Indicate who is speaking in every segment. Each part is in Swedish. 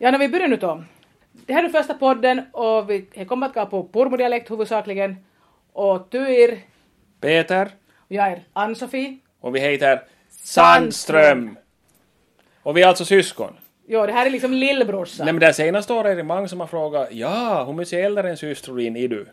Speaker 1: Ja, när vi börjar nu då. Det här är första podden och vi jag kommer att gå på purmodialekt huvudsakligen. Och Tyr,
Speaker 2: Peter
Speaker 1: och jag är Ann-Sofie.
Speaker 2: och vi heter Sandström. Och vi är alltså syskon.
Speaker 1: Jo, det här är liksom lillbrorsan.
Speaker 2: Nej men det här senaste året är det många som har frågat ja, hur mycket äldre än systerin är du?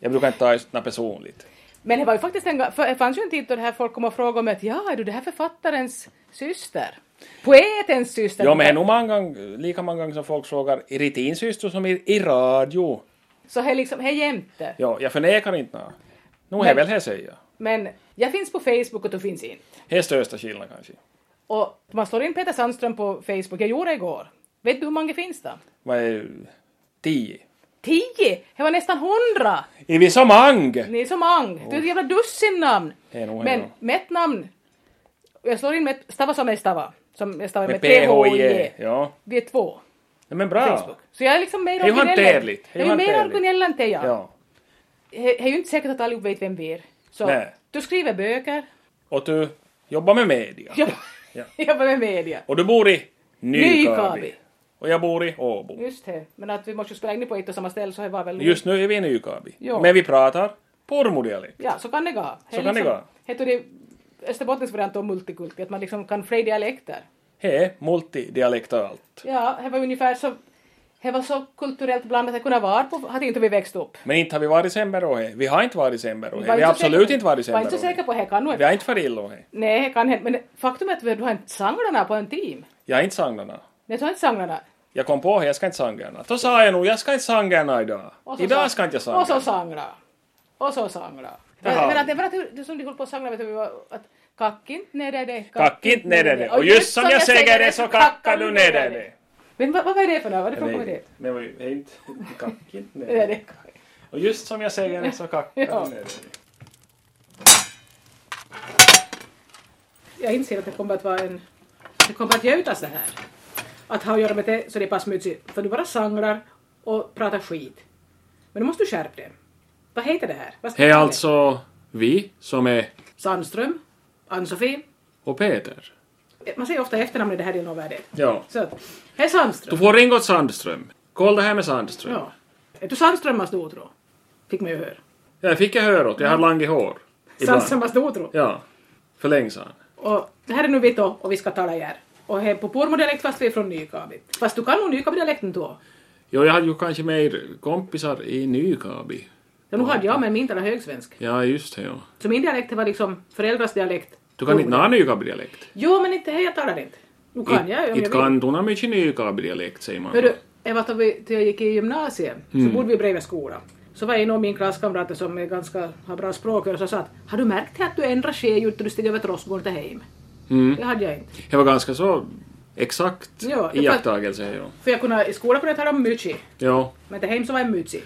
Speaker 2: Jag brukar inte ta det personligt.
Speaker 1: Men det var ju faktiskt en gång- för det fanns ju en tid då det här folk kom och frågade om att ja, är du det här författarens syster? Poetens syster?
Speaker 2: Jo men det är nog många, gång- lika många gånger som folk frågar är det din syster som är i radio?
Speaker 1: Så det är liksom, det är jämte.
Speaker 2: Ja, jag förnekar inte något. Nu är
Speaker 1: Men-
Speaker 2: väl det säger.
Speaker 1: Men jag finns på Facebook och du finns inte.
Speaker 2: Det är största skillnaden kanske.
Speaker 1: Och man slår in Peter Sandström på Facebook, jag gjorde det igår. Vet du hur många finns det?
Speaker 2: Vad är tio?
Speaker 1: Tio! Det var nästan hundra!
Speaker 2: Är vi så många?
Speaker 1: Ni är så många. Det är ett jävla dussin namn.
Speaker 2: Det är nog
Speaker 1: Men
Speaker 2: det.
Speaker 1: mitt namn, jag slår in mitt, stava som jag stavar, som jag stavar med,
Speaker 2: Med
Speaker 1: PHJ.
Speaker 2: PHJ. E. Ja.
Speaker 1: E. Vi är två.
Speaker 2: Nej, men bra.
Speaker 1: Facebook. Så jag är liksom mer
Speaker 2: Det är ju
Speaker 1: originell än-
Speaker 2: hanterligt. Det
Speaker 1: Jag
Speaker 2: är
Speaker 1: är
Speaker 2: ju
Speaker 1: ju mer
Speaker 2: hanterligt.
Speaker 1: originell än Teija.
Speaker 2: Ja.
Speaker 1: Det är ju inte säkert att allihop vet vem vi är. Så
Speaker 2: Nej.
Speaker 1: du skriver böcker,
Speaker 2: Och du jobbar med media.
Speaker 1: jag
Speaker 2: Ja.
Speaker 1: jobbar med media.
Speaker 2: Och du bor i Nykabi.
Speaker 1: Nykabi.
Speaker 2: Och jag bor i Åbo.
Speaker 1: Just det, men att vi måste ju spela in på ett och samma ställe så det var väl...
Speaker 2: Just nu är vi i Nykabi.
Speaker 1: Ja.
Speaker 2: Men vi pratar pormodialekt.
Speaker 1: Ja, så kan det gå. Så
Speaker 2: Så kan det gå.
Speaker 1: Heter det Österbottens variant av multikulti, att man liksom kan flera dialekter.
Speaker 2: He, multidialektalt.
Speaker 1: Ja, det var ungefär så... Det var så kulturellt blandat det kunde vara på, hade inte vi växt upp.
Speaker 2: Men inte har vi varit sämre då he. Vi har inte varit sämre då
Speaker 1: Vi
Speaker 2: he. Vi
Speaker 1: var
Speaker 2: har
Speaker 1: inte så
Speaker 2: absolut
Speaker 1: säkra-
Speaker 2: inte varit
Speaker 1: Var
Speaker 2: sämre
Speaker 1: inte så
Speaker 2: då he.
Speaker 1: säker på det kan nog...
Speaker 2: Vi har inte farit illa då he.
Speaker 1: Nej, det kan hända. Men faktum är att vi- du har inte sångarna på en team.
Speaker 2: Jag är inte sangarna.
Speaker 1: Nej, du har inte sångarna.
Speaker 2: Jag kom på he, jag ska inte sangarna. Då sa jag nog, jag ska inte sangarna idag.
Speaker 1: Och så sa-
Speaker 2: Idag ska inte jag
Speaker 1: Och så
Speaker 2: sangarna.
Speaker 1: sangra. Och så sangra. Men,
Speaker 2: Jaha.
Speaker 1: men att, men att du, du som du höll på att sangra vet du vi var att kack inte ner dig det.
Speaker 2: Kack inte ner dig det. Och just som jag säger det så kackar du ner dig det.
Speaker 1: Men vad, vad var det för något? Vad är det för
Speaker 2: Nej,
Speaker 1: komedi?
Speaker 2: nej, men det är inte... Kack inte ner
Speaker 1: Det
Speaker 2: dig
Speaker 1: är
Speaker 2: det.
Speaker 1: det.
Speaker 2: Och just som jag säger det så kackar
Speaker 1: Ja.
Speaker 2: du ner dig det.
Speaker 1: Jag inser att det kommer att vara en... Det kommer att gjutas det här. Att ha att göra med det så det är passmutsigt. För du bara sangrar och pratar skit. Men nu måste du skärpa dig. Vad heter det här? Vad ska
Speaker 2: Hej
Speaker 1: det-
Speaker 2: alltså vi som är
Speaker 1: Sandström, Ann-Sofie.
Speaker 2: och Peter.
Speaker 1: Man säger ofta efternamn i det här delen av världen.
Speaker 2: Ja.
Speaker 1: Så att, hej Sandström.
Speaker 2: Du får ringa åt Sandström. Kolla det här med Sandström.
Speaker 1: Ja. Är du Sandströmmas dotro? Fick man ju höra.
Speaker 2: Jag fick jag höra åt. Jag hade langt hår. Ibland.
Speaker 1: Sandströmmas dotro.
Speaker 2: Ja. För länge sedan.
Speaker 1: Och det här är nu Vito och vi ska tala er. Och här på pormodialekt fast vi är från Nykabi. Fast du kan nog Nykabi-dialekten då.
Speaker 2: Jo, jag hade ju kanske mer kompisar i Nykabi.
Speaker 1: Ja, nu hade jag men min talade högsvensk.
Speaker 2: Ja, just det. Ja.
Speaker 1: Så min dialekt var liksom föräldrars dialekt.
Speaker 2: Du kan inte ha Nykabi-dialekt.
Speaker 1: Jo, men inte här jag talar inte. Nu kan jag om jag
Speaker 2: Inte
Speaker 1: vill.
Speaker 2: kan du ha mycket Nykabi-dialekt, säger man.
Speaker 1: Hördu, jag var då vi, till jag gick i gymnasiet
Speaker 2: Mm.
Speaker 1: så bodde vi bredvid skolan. Så var det en av mina klasskamrater som är ganska, har bra språk och så sa att har du märkt att du ändrar skedjur till du stiger över Trossgården till hem?
Speaker 2: Mm.
Speaker 1: Det hade jag inte.
Speaker 2: Det var ganska så exakt
Speaker 1: Ja, det-
Speaker 2: iakttagelse. Ja.
Speaker 1: För jag kunde, i skolan kunde jag tala om mycket,
Speaker 2: ja.
Speaker 1: men till hem så var jag mycket.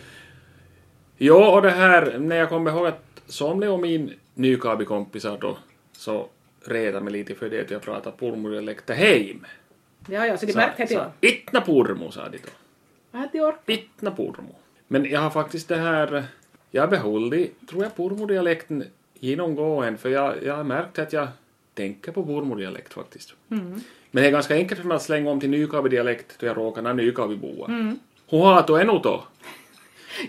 Speaker 2: Ja, och det här, när jag kommer ihåg att somliga av min nykabikompisar då, så retade mig lite för det att jag pratade purmodialekt heim.
Speaker 1: Ja, ja, så det
Speaker 2: Så-
Speaker 1: märkte jag till.
Speaker 2: så, Itna purmo, sa de då.
Speaker 1: Jag hade år.
Speaker 2: Itna purmo. Men jag har faktiskt det här, jag behållit, tror jag, purmodialekten genomgående, för jag, jag har märkt att jag tänker på purmodialekt faktiskt.
Speaker 1: Mm.
Speaker 2: Men det är ganska enkelt för mig att slänga om till nykabidialekt då jag råkar vara nykabiboa. Mm. Hur har du ännu då? Om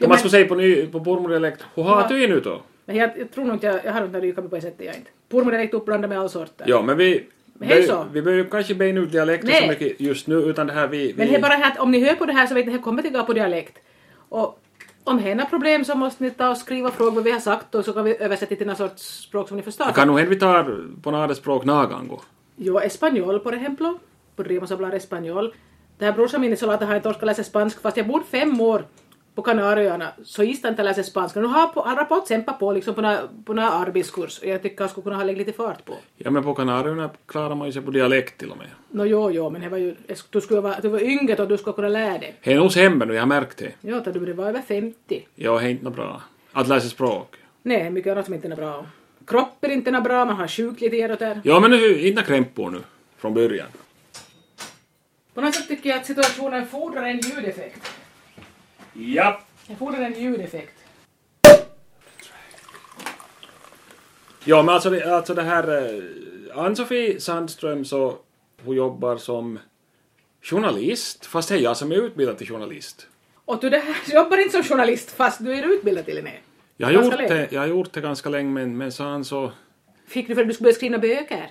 Speaker 2: man
Speaker 1: men-
Speaker 2: skulle säga på, ny- på purmodialekt, hur har du ännu då?
Speaker 1: Men jag, jag tror nog inte jag, jag har inte rykat på det sättet jag inte. Pormar direkt uppblandad med all sorter.
Speaker 2: Ja, men vi...
Speaker 1: Men hej så.
Speaker 2: vi- Vi behöver kanske bena ut dialekter
Speaker 1: Nej.
Speaker 2: så mycket just nu, utan det här vi...
Speaker 1: Men
Speaker 2: vi
Speaker 1: det är bara här att om ni hör på det här så vet ni att det kommer tillbaka på dialekt. Och om det är några problem så måste ni ta och skriva frågor vad vi har sagt och så kan vi översätta till någon sorts språk som ni förstår.
Speaker 2: Det kan nog hända vi tar på några språk nagango.
Speaker 1: Jo, español por ejemplo. Podríamos hablar español. Det här brorsan min i Solata har inte orkat läsa spanska fast jag bodde fem år på Kanarieöarna så gist han inte läsa spanska. Nu har på- han har på att kämpa på liksom på några- på några arbetskurs och jag tycker han skulle kunna ha lagt lite fart på.
Speaker 2: Ja, men på Kanarierna klarar man ju sig på dialekt till och med.
Speaker 1: Nå jo, jo, men det var ju, du skulle vara, du var yngre och du skulle kunna lära dig.
Speaker 2: Det är nog sämre nu, jag har märkt det.
Speaker 1: Ja, då du var över 50.
Speaker 2: Ja, det är inte något bra. Att läsa språk.
Speaker 1: Nej, mycket annat som inte är bra. Kropp är inte bra, man har sjuk lite här och där.
Speaker 2: Ja, men nu, inte krämpor nu, från början.
Speaker 1: På något sätt tycker jag att situationen fordrar en ljudeffekt.
Speaker 2: Ja.
Speaker 1: Den fordrar en ljudeffekt.
Speaker 2: Ja, men alltså det, alltså det här... eh, Ann-Sofie Sandström så, hon jobbar som journalist, fast det är jag som är utbildad till journalist.
Speaker 1: Och du det här, jobbar inte som journalist fast du är utbildad till Linné.
Speaker 2: Jag har,
Speaker 1: Ganska
Speaker 2: gjort
Speaker 1: länge.
Speaker 2: det, jag har gjort det ganska länge, men, men så han så...
Speaker 1: Fick du för att du skulle börja skriva böcker?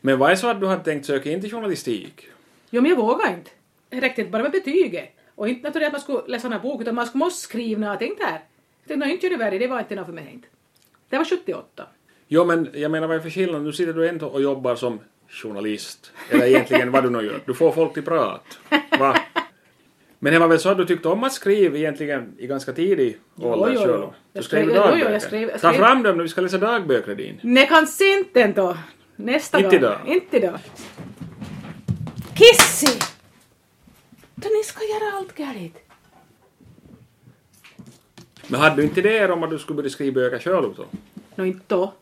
Speaker 2: Men vad är så att du hade tänkt söka in till journalistik?
Speaker 1: Jo, men jag vågar inte. Det räckte inte bara med betyget. Och inte naturligtvis att man skulle läsa någon bok, utan man skulle måste skriva någonting där. Jag tänkte, "Nej, inte gör det värre, det var inte något för mig. Inte. Det var 78.
Speaker 2: Jo, men jag menar vad är för skillnad? Nu sitter du ändå och jobbar som journalist. Eller egentligen vad du nu gör. Du får folk till prat. Va? Men det var väl så att du tyckte om att skriva egentligen i ganska tidig ålder
Speaker 1: jo, jo.
Speaker 2: själv? Du
Speaker 1: Jag
Speaker 2: skrev
Speaker 1: skrev- jo, jo, jag
Speaker 2: dagböcker.
Speaker 1: skrev- jag
Speaker 2: Ta
Speaker 1: skrev-
Speaker 2: fram dem nu, vi ska läsa dagböcker din.
Speaker 1: Nej, kanske inte ändå. Nästa
Speaker 2: Inte
Speaker 1: gång.
Speaker 2: idag.
Speaker 1: Inte idag. Kissi! Då ni ska göra allt galet.
Speaker 2: Men hade du inte idéer om att du skulle börja skriva böcker själv då?
Speaker 1: Nå, inte då.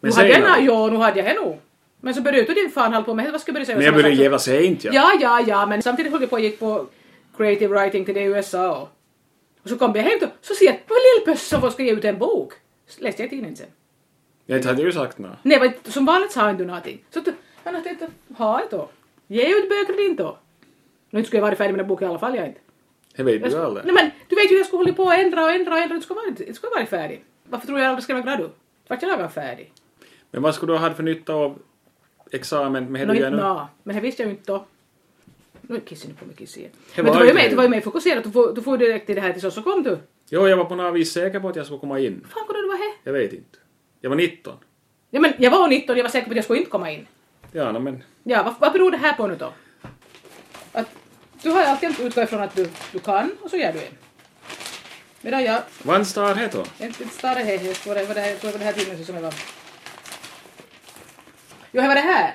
Speaker 2: Men
Speaker 1: nu hade
Speaker 2: säg
Speaker 1: jag,
Speaker 2: då.
Speaker 1: ja, nu hade jag det nog. Men så började du din fan hålla på med, vad ska jag börja säga?
Speaker 2: Men jag började jävla sent ja.
Speaker 1: Ja, ja, ja, men samtidigt höll jag på och gick på creative writing till det i USA. och- Och så kom jag hem och så ser jag att Lillpöss som får skriva ut en bok. Så läste jag i tidningen sen.
Speaker 2: Jag inte hade ju sagt något.
Speaker 1: Nej, vad- som vanligt sa inte du någonting. Så att- men jag tänkte, ha det då. Ge ut böcker din då. Nu inte skulle jag vara färdig med den boken i alla fall, jag inte.
Speaker 2: Det vet
Speaker 1: Jag
Speaker 2: du
Speaker 1: sk-
Speaker 2: aldrig.
Speaker 1: Nej men, du vet ju jag skulle hålla på och ändra och ändra och ändra. Det skulle vara- det skulle vara färdig. Varför tror jag aldrig skrev en gradu? Vart jag lagar färdig?
Speaker 2: Men vad skulle du ha haft för nytta av examen med det
Speaker 1: Nå,
Speaker 2: du
Speaker 1: inte
Speaker 2: gör nu?
Speaker 1: nå. Men det visste jag ju inte då. Nu är kissen på mig kissen igen.
Speaker 2: Det
Speaker 1: Men du
Speaker 2: var
Speaker 1: var ju
Speaker 2: inte
Speaker 1: med,
Speaker 2: det.
Speaker 1: du var ju med fokuserad. Du får, du får direkt till det här till så, så kom du.
Speaker 2: Jo, jag var på något vis säker på att jag skulle komma in.
Speaker 1: fan kunde det vara här?
Speaker 2: Jag vet inte. Jag var 19.
Speaker 1: Ja, men jag var 19 och jag var säker på att jag skulle inte komma in.
Speaker 2: Ja, no, men...
Speaker 1: Ja, vad, vad beror det här på nu då? Att du har ju alltid utgått ifrån att du, du kan och så gör du det. Medan jag
Speaker 2: Vann Star heter hon.
Speaker 1: inte inte större häst, vad det var det här, vad var det här tidningen som jag var. Jo, här var det här.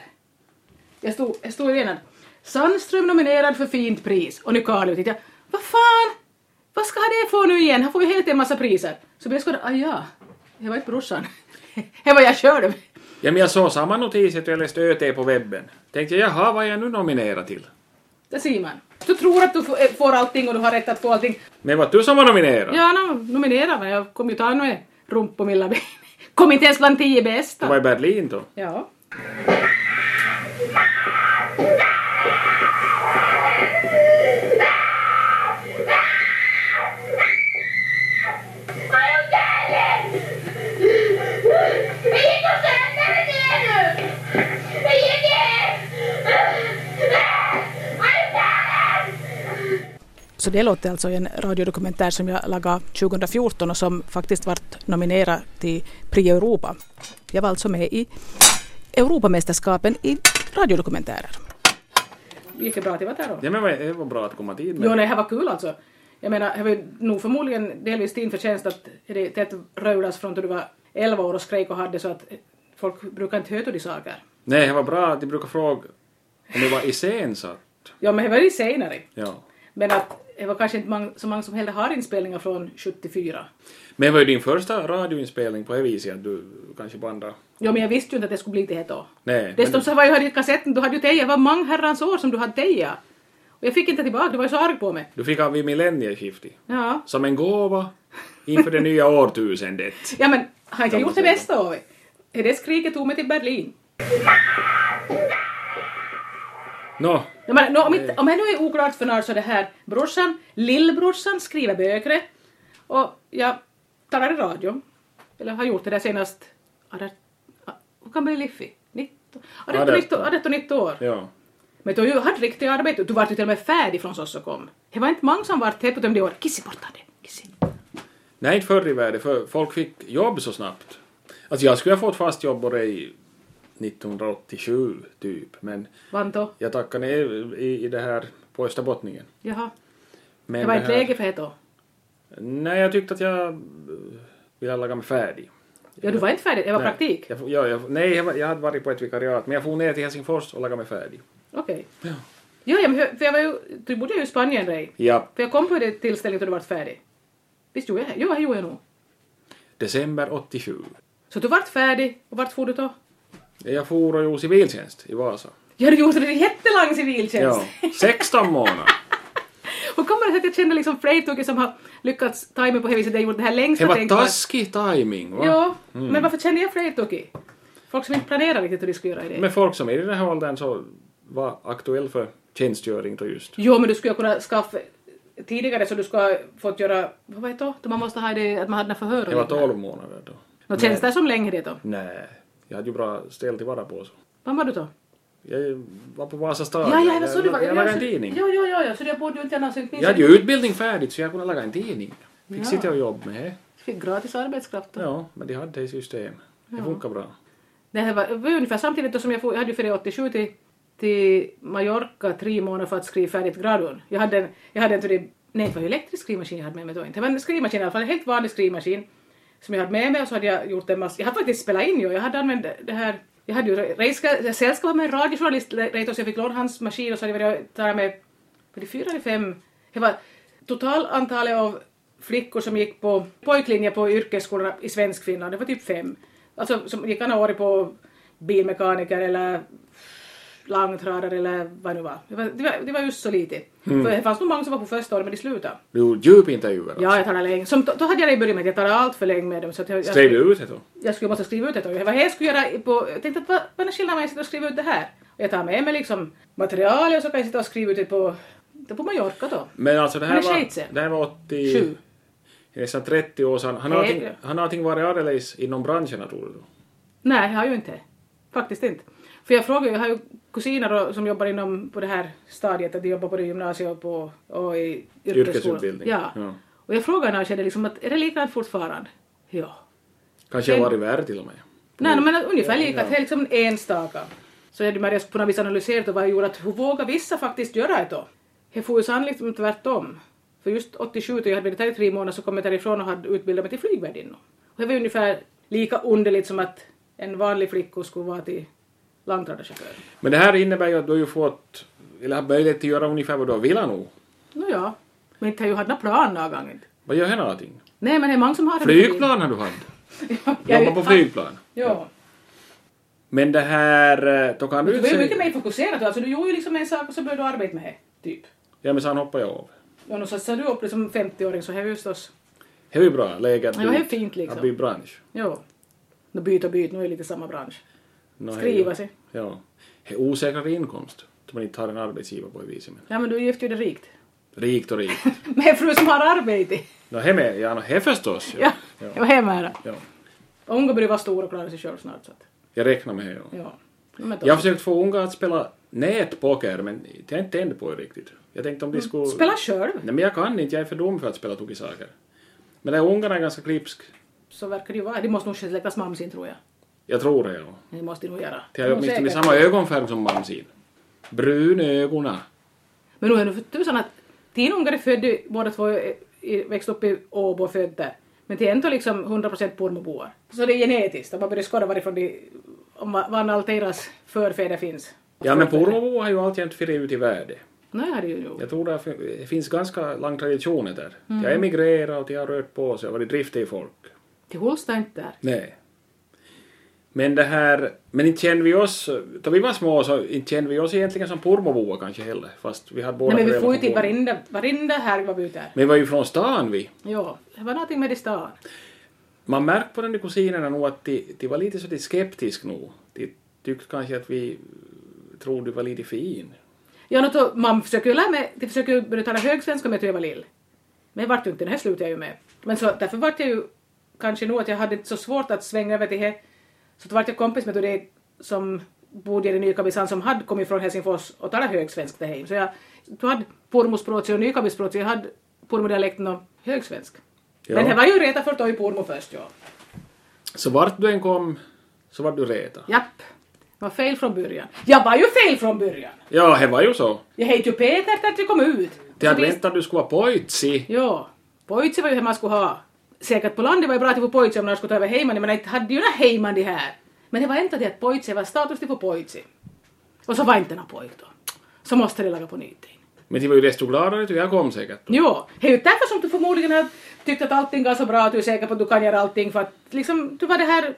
Speaker 1: Jag stod, jag stod i ena. Sandström nominerad för fint pris. Och nu Karl ut. Jag, vad fan? Vad ska det få nu igen? Han får ju helt en massa priser. Så jag skådade, ah ja, det var inte brorsan. Det var jag själv.
Speaker 2: Ja, men jag såg samma notis att jag läste ÖT på webben. Tänkte jag, jaha, vad är jag nu nominerad till?
Speaker 1: Det ser man. Du tror att du får- eh, får allting och du har rätt att få allting.
Speaker 2: Men var du som var nominerad?
Speaker 1: Ja, no, nominera mig. Jag kom ju ta med rumpomilla. Kom inte ens bland tio
Speaker 2: Du
Speaker 1: bästa.
Speaker 2: var i Berlin då.
Speaker 1: Ja.
Speaker 3: Det gick åt sönder ner nu! Det gick in!
Speaker 1: Så det låter alltså i en radiodokumentär som jag lagade 2014 och som faktiskt vart nominerad till Prix Europa. Jag var alltså med i Europamästerskapen i radiodokumentärer. Gick det bra att jag var där då?
Speaker 2: Ja, men vad- det var bra att komma dit
Speaker 1: Jo,
Speaker 2: med.
Speaker 1: nej, det här var kul alltså. Jag menar, det var ju nog förmodligen delvis din förtjänst att det det rödas från då du var 11 år och skrek och hade så att folk brukar inte höra de saker.
Speaker 2: Nej, det var bra att de brukar fråga om det var iscensatt.
Speaker 1: Ja, men det var ju senare.
Speaker 2: Ja.
Speaker 1: Men att det var kanske inte mång- så många som heller har inspelningar från 74.
Speaker 2: Men det var ju din första radioinspelning på det viset att du kanske bandade.
Speaker 1: Ja, men jag visste ju inte att det skulle bli det här då.
Speaker 2: Nej,
Speaker 1: Dessutom
Speaker 2: men,
Speaker 1: så var ju hade kassetten, du hade ju tejat, det var många herrans år som du hade tejat. Och jag fick inte tillbaka, du var ju så arg på mig.
Speaker 2: du fick av vid millennieskiftet.
Speaker 1: Ja.
Speaker 2: Som en gåva inför det nya årtusendet.
Speaker 1: Ja men, har inte jag
Speaker 2: Ja,
Speaker 1: gjort det
Speaker 2: men så-
Speaker 1: bästa av det? Är Det skriket tog mig till Berlin.
Speaker 2: Nå,
Speaker 1: Ja, men, nå, om, inte,
Speaker 2: Eh.
Speaker 1: om jag nu är oklart för när så det här brorsan, lillbrorsan skriver böcker och jag talar i radio, eller har gjort det där senast, adert, a- hur kan man bli liffig? 19, 18, 19, 18, 19 år.
Speaker 2: ja.
Speaker 1: Men du har ju haft riktigt arbete, du vart ju till och med färdig från sosse kom. Det var inte många som vart här på de där åren. Kissi borta det, kissi.
Speaker 2: Nej, inte förr i världen, för folk fick jobb så snabbt. Alltså jag skulle ha fått fast jobb bara i 1987, typ. Men
Speaker 1: Vann då?
Speaker 2: jag tackade nej i, i det här på Österbottningen.
Speaker 1: Jaha.
Speaker 2: Men
Speaker 1: Det var
Speaker 2: det
Speaker 1: inte
Speaker 2: här-
Speaker 1: läge för det då.
Speaker 2: Nej, jag tyckte att jag eh, ville laga mig färdig.
Speaker 1: Ja, du var inte färdig, det var
Speaker 2: Nej,
Speaker 1: praktik.
Speaker 2: Jag, ja, jag, nej, jag, var- jag hade varit på ett vikariat, men jag for ner till Helsingfors och lagade mig färdig.
Speaker 1: Okej.
Speaker 2: Ja.
Speaker 1: Ja, ja, men hö- för jag var ju, du bodde ju i Spanien, Ray.
Speaker 2: Ja,
Speaker 1: För jag kom på det tillställningen då du vart färdig. Visst gjorde jag det? Jo, det gjorde jag nog.
Speaker 2: december 87.
Speaker 1: Så du vart färdig, och vart for du då?
Speaker 2: Jag for och gjorde civiltjänst i Vasa.
Speaker 1: Ja, du gjorde det jättelång civiltjänst.
Speaker 2: Ja, 16 månader.
Speaker 1: Och kommer det sig att jag känner liksom Freytugge som har lyckats tajma på det viset, jag gjorde det här längsta
Speaker 2: Det var
Speaker 1: tänkbara.
Speaker 2: taskig timing, va? Mm.
Speaker 1: Ja, men varför känner jag Freytugge? Folk som inte planerar riktigt hur de ska göra det.
Speaker 2: Men folk som är i den här åldern så var aktuell för tjänstgöring då just.
Speaker 1: Jo, men du skulle kunna skaffa tidigare så du skulle ha fått göra, vad vet du, då man måste ha det, att man hade några förhör. och
Speaker 2: Jag var
Speaker 1: liknande.
Speaker 2: 12 månader då.
Speaker 1: Nå, känns det som längre det då?
Speaker 2: Nej, jag hade ju bra ställ till vara på så.
Speaker 1: Vad var du då?
Speaker 2: Jag var på Vasa stad.
Speaker 1: Ja, ja, vad sa du?
Speaker 2: Jag, jag lagade en tidning.
Speaker 1: Ja, ja, ja, ja, så jag borde ju inte gärna ha synkt min
Speaker 2: Jag hade ju utbildning färdigt så jag kunde laga en tidning. Fick
Speaker 1: Ja.
Speaker 2: sitta och jobba med det.
Speaker 1: Fick gratis arbetskraft då.
Speaker 2: Ja, men de hade det i system. Det funkar bra.
Speaker 1: Det här var, det var ungefär samtidigt då som jag, for, jag hade ju ferie 87 till, till Mallorca tre månader för att skriva färdigt gradun. Jag hade en, jag hade en till det, nej det var ju elektrisk skrivmaskin jag hade med mig då inte, men en skrivmaskin i alla fall, en helt vanlig skrivmaskin som jag hade med mig och så hade jag gjort en massa, jag hade faktiskt spelat in ju, jag hade använt det här jag hade ju Reiska, Selska var med en radiojournalist, Le- Reitos, jag fick låna hans maskin och så hade jag varit och tagit med, var det fyra eller fem? Det var totalantalet av flickor som gick på pojklinje på yrkesskolorna i svensk Finland, det var typ fem. Alltså som gick andra året på bilmekaniker eller långtradare eller vad det nu var. Det var, det var, det var just så lite.
Speaker 2: Mm.
Speaker 1: För det fanns nog många som var på första året men de slutade.
Speaker 2: Du gjorde djupintervjuer
Speaker 1: Ja, jag talade länge. Som, då, då hade jag det i början med att jag talade allt för länge med dem. Så att jag, jag,
Speaker 2: Skrev du ut det då?
Speaker 1: jag skulle måste skriva ut det. Och Vad jag skulle göra i- på... Jag tänkte att vad, vad är skillnaden mellan att sitta och skriva ut det här? Och jag tar med mig liksom material och så kan jag sitta och skriva ut det på... Det på Mallorca då.
Speaker 2: Men alltså det här
Speaker 1: Men det
Speaker 2: var,
Speaker 1: skiter.
Speaker 2: det här var 80...
Speaker 1: Sju.
Speaker 2: Det är nästan 30 år sedan. Han har
Speaker 1: Nej.
Speaker 2: allting- han har allting varit alldeles inom branscherna tror du? då?
Speaker 1: Nej, jag har ju inte. Faktiskt inte. För jag frågar ju, jag har ju kusiner och- som jobbar inom på det här stadiet, att de jobbar både i gymnasiet och, på, och i yrkesskolan.
Speaker 2: Yrkesutbildning,
Speaker 1: Ja.
Speaker 2: ja.
Speaker 1: Och jag frågar när jag känner liksom att är det likadant fortfarande? Ja.
Speaker 2: Kanske har
Speaker 1: Men-
Speaker 2: varit värre till och med.
Speaker 1: Nej, no, men ungefär
Speaker 2: Mm. Ja,
Speaker 1: lika,
Speaker 2: ja.
Speaker 1: att det är liksom enstaka. Så jag hade Maria på något vis analyserat och vad jag gjorde att hur vågar vissa faktiskt göra det då? Det får ju sannolikt om tvärtom. För just 87 då jag hade varit där i tre månader så kom jag därifrån och hade utbildat mig till flygvärdinna. Och det var ju ungefär lika underligt som att en vanlig flicka skulle vara till långtradarchaufför.
Speaker 2: Men det här innebär ju att du har ju fått, eller har möjlighet att göra ungefär vad du vill nog.
Speaker 1: Nåja, men inte har jag haft några plan någon gång. inte.
Speaker 2: Vad gör här någonting?
Speaker 1: Nej, men det är många som har det.
Speaker 2: Flygplan har du haft.
Speaker 1: Jag-
Speaker 2: Jobba på flygplan.
Speaker 1: Ja.
Speaker 2: Men det här, eh, då kan du
Speaker 1: Du var ju
Speaker 2: inte
Speaker 1: mycket
Speaker 2: se...
Speaker 1: mer fokuserad. Alltså, du gjorde ju liksom en sak och så började du arbeta med det. Typ.
Speaker 2: Ja men sen hoppar jag av.
Speaker 1: Ja, nu satsar du upp det som 50-åring så här just oss.
Speaker 2: Det är ju bra läge att
Speaker 1: Ja, det är fint liksom.
Speaker 2: Att bli bransch.
Speaker 1: Jo. Nu byt och byt, nu är det lite samma bransch.
Speaker 2: No,
Speaker 1: Skriva sig.
Speaker 2: Ja. Det är osäkrare inkomst. Att man inte har en arbetsgivare på det viset. Men
Speaker 1: Ja men du gifte ju dig rikt.
Speaker 2: rikt och rikt.
Speaker 1: Med en fru som har arbete.
Speaker 2: Nå no, he med, ja no, he förstås.
Speaker 1: Ja,
Speaker 2: ja.
Speaker 1: det var hemma då.
Speaker 2: ja.
Speaker 1: Och hon börjar vara stor och klara sig själv snart så att,
Speaker 2: Jag räknar med det. Ja.
Speaker 1: ja. Men då.
Speaker 2: Jag har försökt få unga att spela nätpoker men det har jag inte tänt på det riktigt. Jag tänkte om de skulle...
Speaker 1: Mm. Spela själv,
Speaker 2: Nej men jag kan inte, jag är för dum för att spela tokisaker. Men de här ungarna är ganska klipsk.
Speaker 1: så verkar det ju vara. Det måste nog släktas mamsin tror jag.
Speaker 2: Jag tror det ja.
Speaker 1: Det måste det nog göra.
Speaker 2: De har ju
Speaker 1: Nog
Speaker 2: åtminstone
Speaker 1: säkert.
Speaker 2: samma ögonfärg som mamsin. Brunögona.
Speaker 1: Men nu är det för tusan att din ungar är född i- båda två i- i- växte upp i Åbo och född där. Men det är ändå liksom 100% Pormoboar. Så det är genetiskt, om man börjar skåda varifrån de, om va- var alla deras förfäder finns.
Speaker 2: Ja men Porvobo har ju alltjämt firat ut i världen.
Speaker 1: Nej, det är det ju nog.
Speaker 2: Jag tror det fin- det finns ganska lång tradition där.
Speaker 1: Mm.
Speaker 2: De har emigrerat och de har rört på sig och varit driftiga folk.
Speaker 1: Till Holsta inte där.
Speaker 2: Nej. Men det här, men inte kände vi oss, då vi var små så inte kände vi oss egentligen som Pormoboar kanske heller. Fast vi hade båda
Speaker 1: Nej men vi
Speaker 2: föräldrar
Speaker 1: får ju
Speaker 2: från
Speaker 1: till
Speaker 2: Pormo.
Speaker 1: varenda, varenda här var vi ute här.
Speaker 2: Men vi var ju från stan vi.
Speaker 1: Jo, det var någonting med det stan.
Speaker 2: Man märkte på den där kusinerna nog att de, de var lite så de skeptisk nog. De tyckte kanske att vi trodde vi var lite fin.
Speaker 1: Ja, nå då, man försöker ju lära mig, de försöker ju börja tala högsvenska med att jag var lill. Men det vart ju inte, det här slutade jag ju med. Men så därför vart jag ju kanske nog att jag hade inte så svårt att svänga över till det. Så då vart jag kompis med det som bodde i Nykabisan som hade kommit från Helsingfors och talat högsvenska där hem. Så jag, du hade pormospråket och nykabispråket, jag hade pormodialekten och högsvensk.
Speaker 2: Ja.
Speaker 1: Men det var ju reta förstå i pormo först, ja.
Speaker 2: Så vart du än kom så var du reta.
Speaker 1: Japp. Var fel från början. Jag var ju fel från början!
Speaker 2: Ja, det var ju så.
Speaker 1: Jag hette ju Peter efter att jag kom ut.
Speaker 2: De
Speaker 1: Så
Speaker 2: hade
Speaker 1: visst-
Speaker 2: väntat att du skulle vara pojtsi.
Speaker 1: Ja. Pojtse var ju hur man skulle ha. Säkert på landet var det bra att få pojtse om någon skulle ta över Heiman, men inte hade ju några Heiman de här. Men det var inte det att pojtse var status till få pojtse. Och så var inte någon pojk då. Så måste de laga på nytt.
Speaker 2: Men de var ju desto gladare att jag kom säkert.
Speaker 1: Jo, det är ju därför som du förmodligen har tyckt att allting går så bra, att du är säker på att du kan göra allting för att liksom, du var det här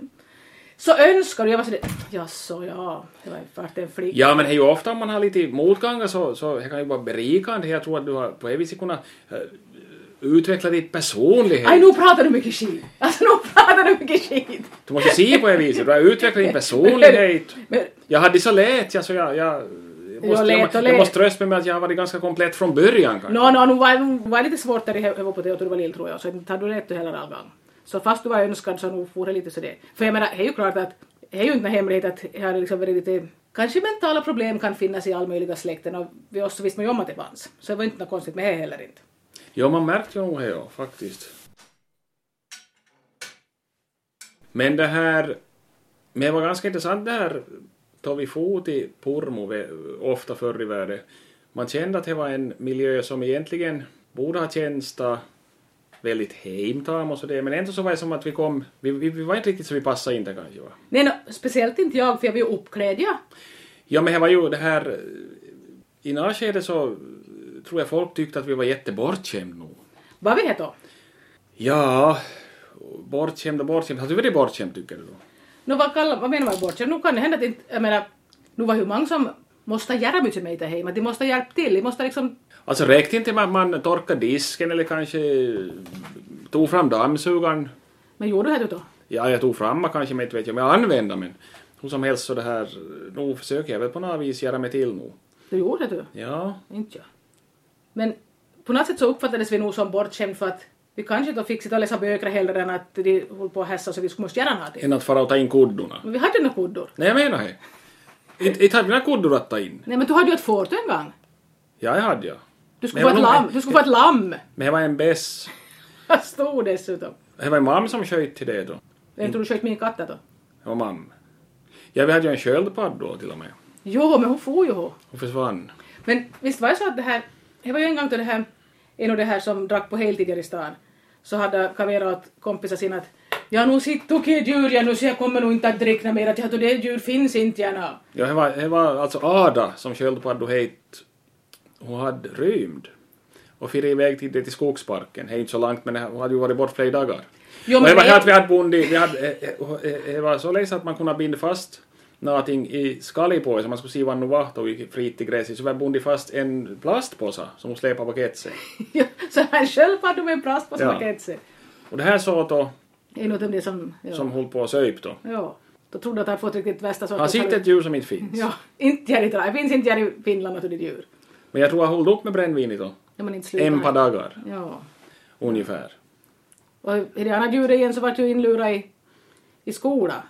Speaker 1: så önskar du. Jag var sådär, jaså ja, det var vart en flicka.
Speaker 2: Ja, men det är ju ofta om man har lite motgångar så, så det kan ju vara berikande. Jag tror att du har på det viset kunnat eh, utveckla ditt personlighet.
Speaker 1: Aj, nu pratar du mycket skit. Alltså nu pratar du mycket skit.
Speaker 2: Du måste se på det viset. Du har utvecklat din personlighet.
Speaker 1: Men,
Speaker 2: Jag hade så lätt, jag, så jag, jag jag måste,
Speaker 1: lät
Speaker 2: jag,
Speaker 1: och
Speaker 2: må- jag
Speaker 1: lät.
Speaker 2: måste trösta mig med att jag har varit ganska komplett från början kanske.
Speaker 1: Nå, nå, nu var, nu var det lite svårt där i He- Hevo på det och du var lill tror jag, så inte hade du rätt hela dagen. Så fast du var önskad så nog for det lite sådär. För jag menar, det är ju klart att det är ju inte någon hemlighet att det har liksom varit lite Kanske mentala problem kan finnas i all möjliga släkten och vi oss så visste man ju om att det fanns. Så det var inte något konstigt med det heller inte.
Speaker 2: Ja, man märkte ju nog det, ja, faktiskt. Men det här... Men det var ganska intressant det här då vi for till Pormo ve- ofta förr i världen. Man kände att det var en miljö som egentligen borde ha känts då väldigt heimtam och sådär, men ändå så var det som att vi kom... Vi, vi, vi var inte riktigt så vi passade in där kanske. Va?
Speaker 1: Nej, nå, speciellt inte jag, för jag var ju uppklädd, ja.
Speaker 2: Ja, men det var ju det här... eh, I några skede så eh, tror jag folk tyckte att vi var jättebortskämda nog.
Speaker 1: Vad vi heter?
Speaker 2: Ja, bortskämd och bortskämd. Har du varit bortskämd tycker du då?
Speaker 1: Nå, vad, kallar, vad menar man bortskämd? Nu kan det hända att inte, jag menar, nu var hur många som måste göra mycket med det här, men de måste hjälpa till, de måste liksom
Speaker 2: Alltså räckte inte med att man torkade disken eller kanske tog fram dammsugaren?
Speaker 1: Men gjorde du det då?
Speaker 2: Ja, jag tog fram den kanske, men inte vet jag om jag använde men hur som helst så det här, nog försöker jag väl på något vis göra mig till nu.
Speaker 1: Du gjorde det du?
Speaker 2: Ja,
Speaker 1: Inte jag. Men på något sätt så uppfattades vi nog som bortskämd för att vi kanske då fick sitta och läsa böcker hellre än att de höll på och hässa så vi skulle måste göra någonting.
Speaker 2: än att fara och ta in kuddorna.
Speaker 1: Men vi hade ju några kuddor.
Speaker 2: Nej, jag menar det. Inte inte hade vi några kuddor att ta in.
Speaker 1: Nej men du hade ju ett fort en gång.
Speaker 2: Ja, det hade jag.
Speaker 1: Du skulle
Speaker 2: Men
Speaker 1: vara ett
Speaker 2: jag var nog-
Speaker 1: lamm. Du skulle vara ett lamm.
Speaker 2: Men det var en bäst.
Speaker 1: Jag stod dessutom.
Speaker 2: Det var en mamma som sköt till det då.
Speaker 1: Vem tror
Speaker 2: Mm.
Speaker 1: du sköt min katt då?
Speaker 2: Det var mamma. Ja, vi hade ju en sköldpadd då till och med.
Speaker 1: Jo, men hon får ju hon.
Speaker 2: Hon försvann.
Speaker 1: Men visst var det så att det här, det var ju en gång då det här, en av det här som drack på heltid här i stan, så hade Kavera åt kompisar sina att ja nu sitter okej djur ja nu så jag kommer nog inte att drickna mer att jag tror det djur finns inte gärna.
Speaker 2: Ja, det var, det var alltså Ada som sköldpadda hit. Hon hade rymd och fick iväg till, till skogsparken. Det är inte så långt, men hon hade ju varit bort flera dagar.
Speaker 1: Jo,
Speaker 2: och
Speaker 1: men
Speaker 2: det var
Speaker 1: det-
Speaker 2: här att vi hade bundit, vi hade, eh, eh, och, eh, det var så läs att man kunde binda fast någonting i skallig på det, så man skulle se vad nu var då vi frit till gräset, så vi hade bundit fast en plastpåse som hon släpade på ketsen.
Speaker 1: Ja, så han själv hade med en plast på sina
Speaker 2: Ja.
Speaker 1: ketser.
Speaker 2: Och det här sa då,
Speaker 1: En av dem det som, ja.
Speaker 2: som höll på att söp då.
Speaker 1: ja. Då trodde att han fått riktigt värsta sorten.
Speaker 2: Han sitter ett djur som inte finns.
Speaker 1: Ja, inte här i Tra- det finns inte här i Finland att det är djur.
Speaker 2: Men jag tror han höll upp med brännvinet då.
Speaker 1: När man inte slutar.
Speaker 2: En par dagar,
Speaker 1: Ja.
Speaker 2: ungefär.
Speaker 1: Och i det andra djuret igen så vart ju inlurad i, i skolan.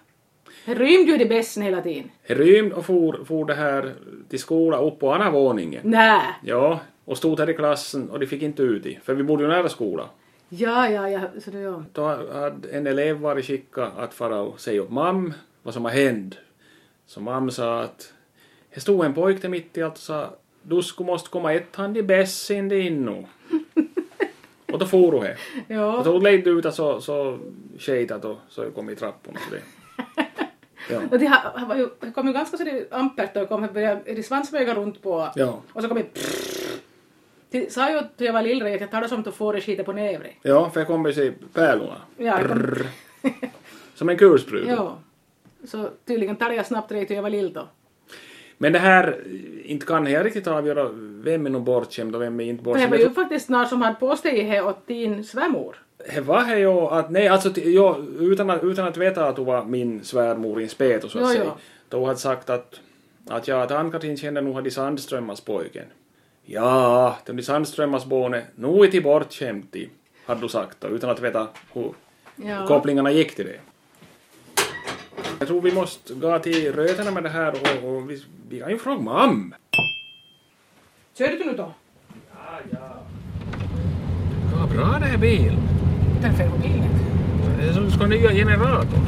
Speaker 1: Det rymde ju det bästa hela tiden.
Speaker 2: He rymde och for, for det här till skola upp på andra våningen.
Speaker 1: Nä.
Speaker 2: Ja, och stod där i klassen och de fick inte ut i, för vi bodde ju nära skola.
Speaker 1: Ja, ja, ja, så det ja.
Speaker 2: Då hade en elev varit skickad att fara och säga upp mam vad som har hänt. Så mam sa att det stod en pojke där mitt i allt och sa du skulle måste komma ett hand i bässen din nu. och då for hon he. Och
Speaker 1: Ja.
Speaker 2: då ledde ut att så, så skejt att då- så kom i trapporna. Så det. Ja.
Speaker 1: Och det här här var ju, det kom ju ganska så det ampert och kom, det började det svansmöga runt på.
Speaker 2: Ja.
Speaker 1: Och så kom det Det sa ju att jag var lillre, jag talade som att få det skiten på nävret.
Speaker 2: Ja, för jag kommer se pärlorna.
Speaker 1: Ja, det kom-
Speaker 2: Brrr. Som en kulspruta.
Speaker 1: Ja. Så tydligen talade jag snabbt rätt och jag var lill då.
Speaker 2: Men det här, eh, inte kan jag riktigt avgöra vem är nog bortskämd och vem är inte
Speaker 1: För det
Speaker 2: bortskämd.
Speaker 1: var ju faktiskt någon som hade påstått det åt din svärmor.
Speaker 2: Det var det ju att, nej alltså t- ja, utan, att, utan att veta att hon var min svärmor i en spet och så att
Speaker 1: Ja,
Speaker 2: säga.
Speaker 1: ja.
Speaker 2: Då hon hade sagt att, att ja, att Ann-Katrin känner nog hade Sandströmmas pojken. Ja, den i Sandströmmas båne, nu är till bortskämd i, hade du sagt då, utan att veta hur
Speaker 1: Ja.
Speaker 2: kopplingarna gick till det. Jag tror vi måste gå till rötena med det här och, och vi, vi kan ju fråga mamma.
Speaker 1: Körde du nu då?
Speaker 2: Vad bra det är bil.
Speaker 1: Den fel på bilen.
Speaker 2: Det är som du ska ha nya generator.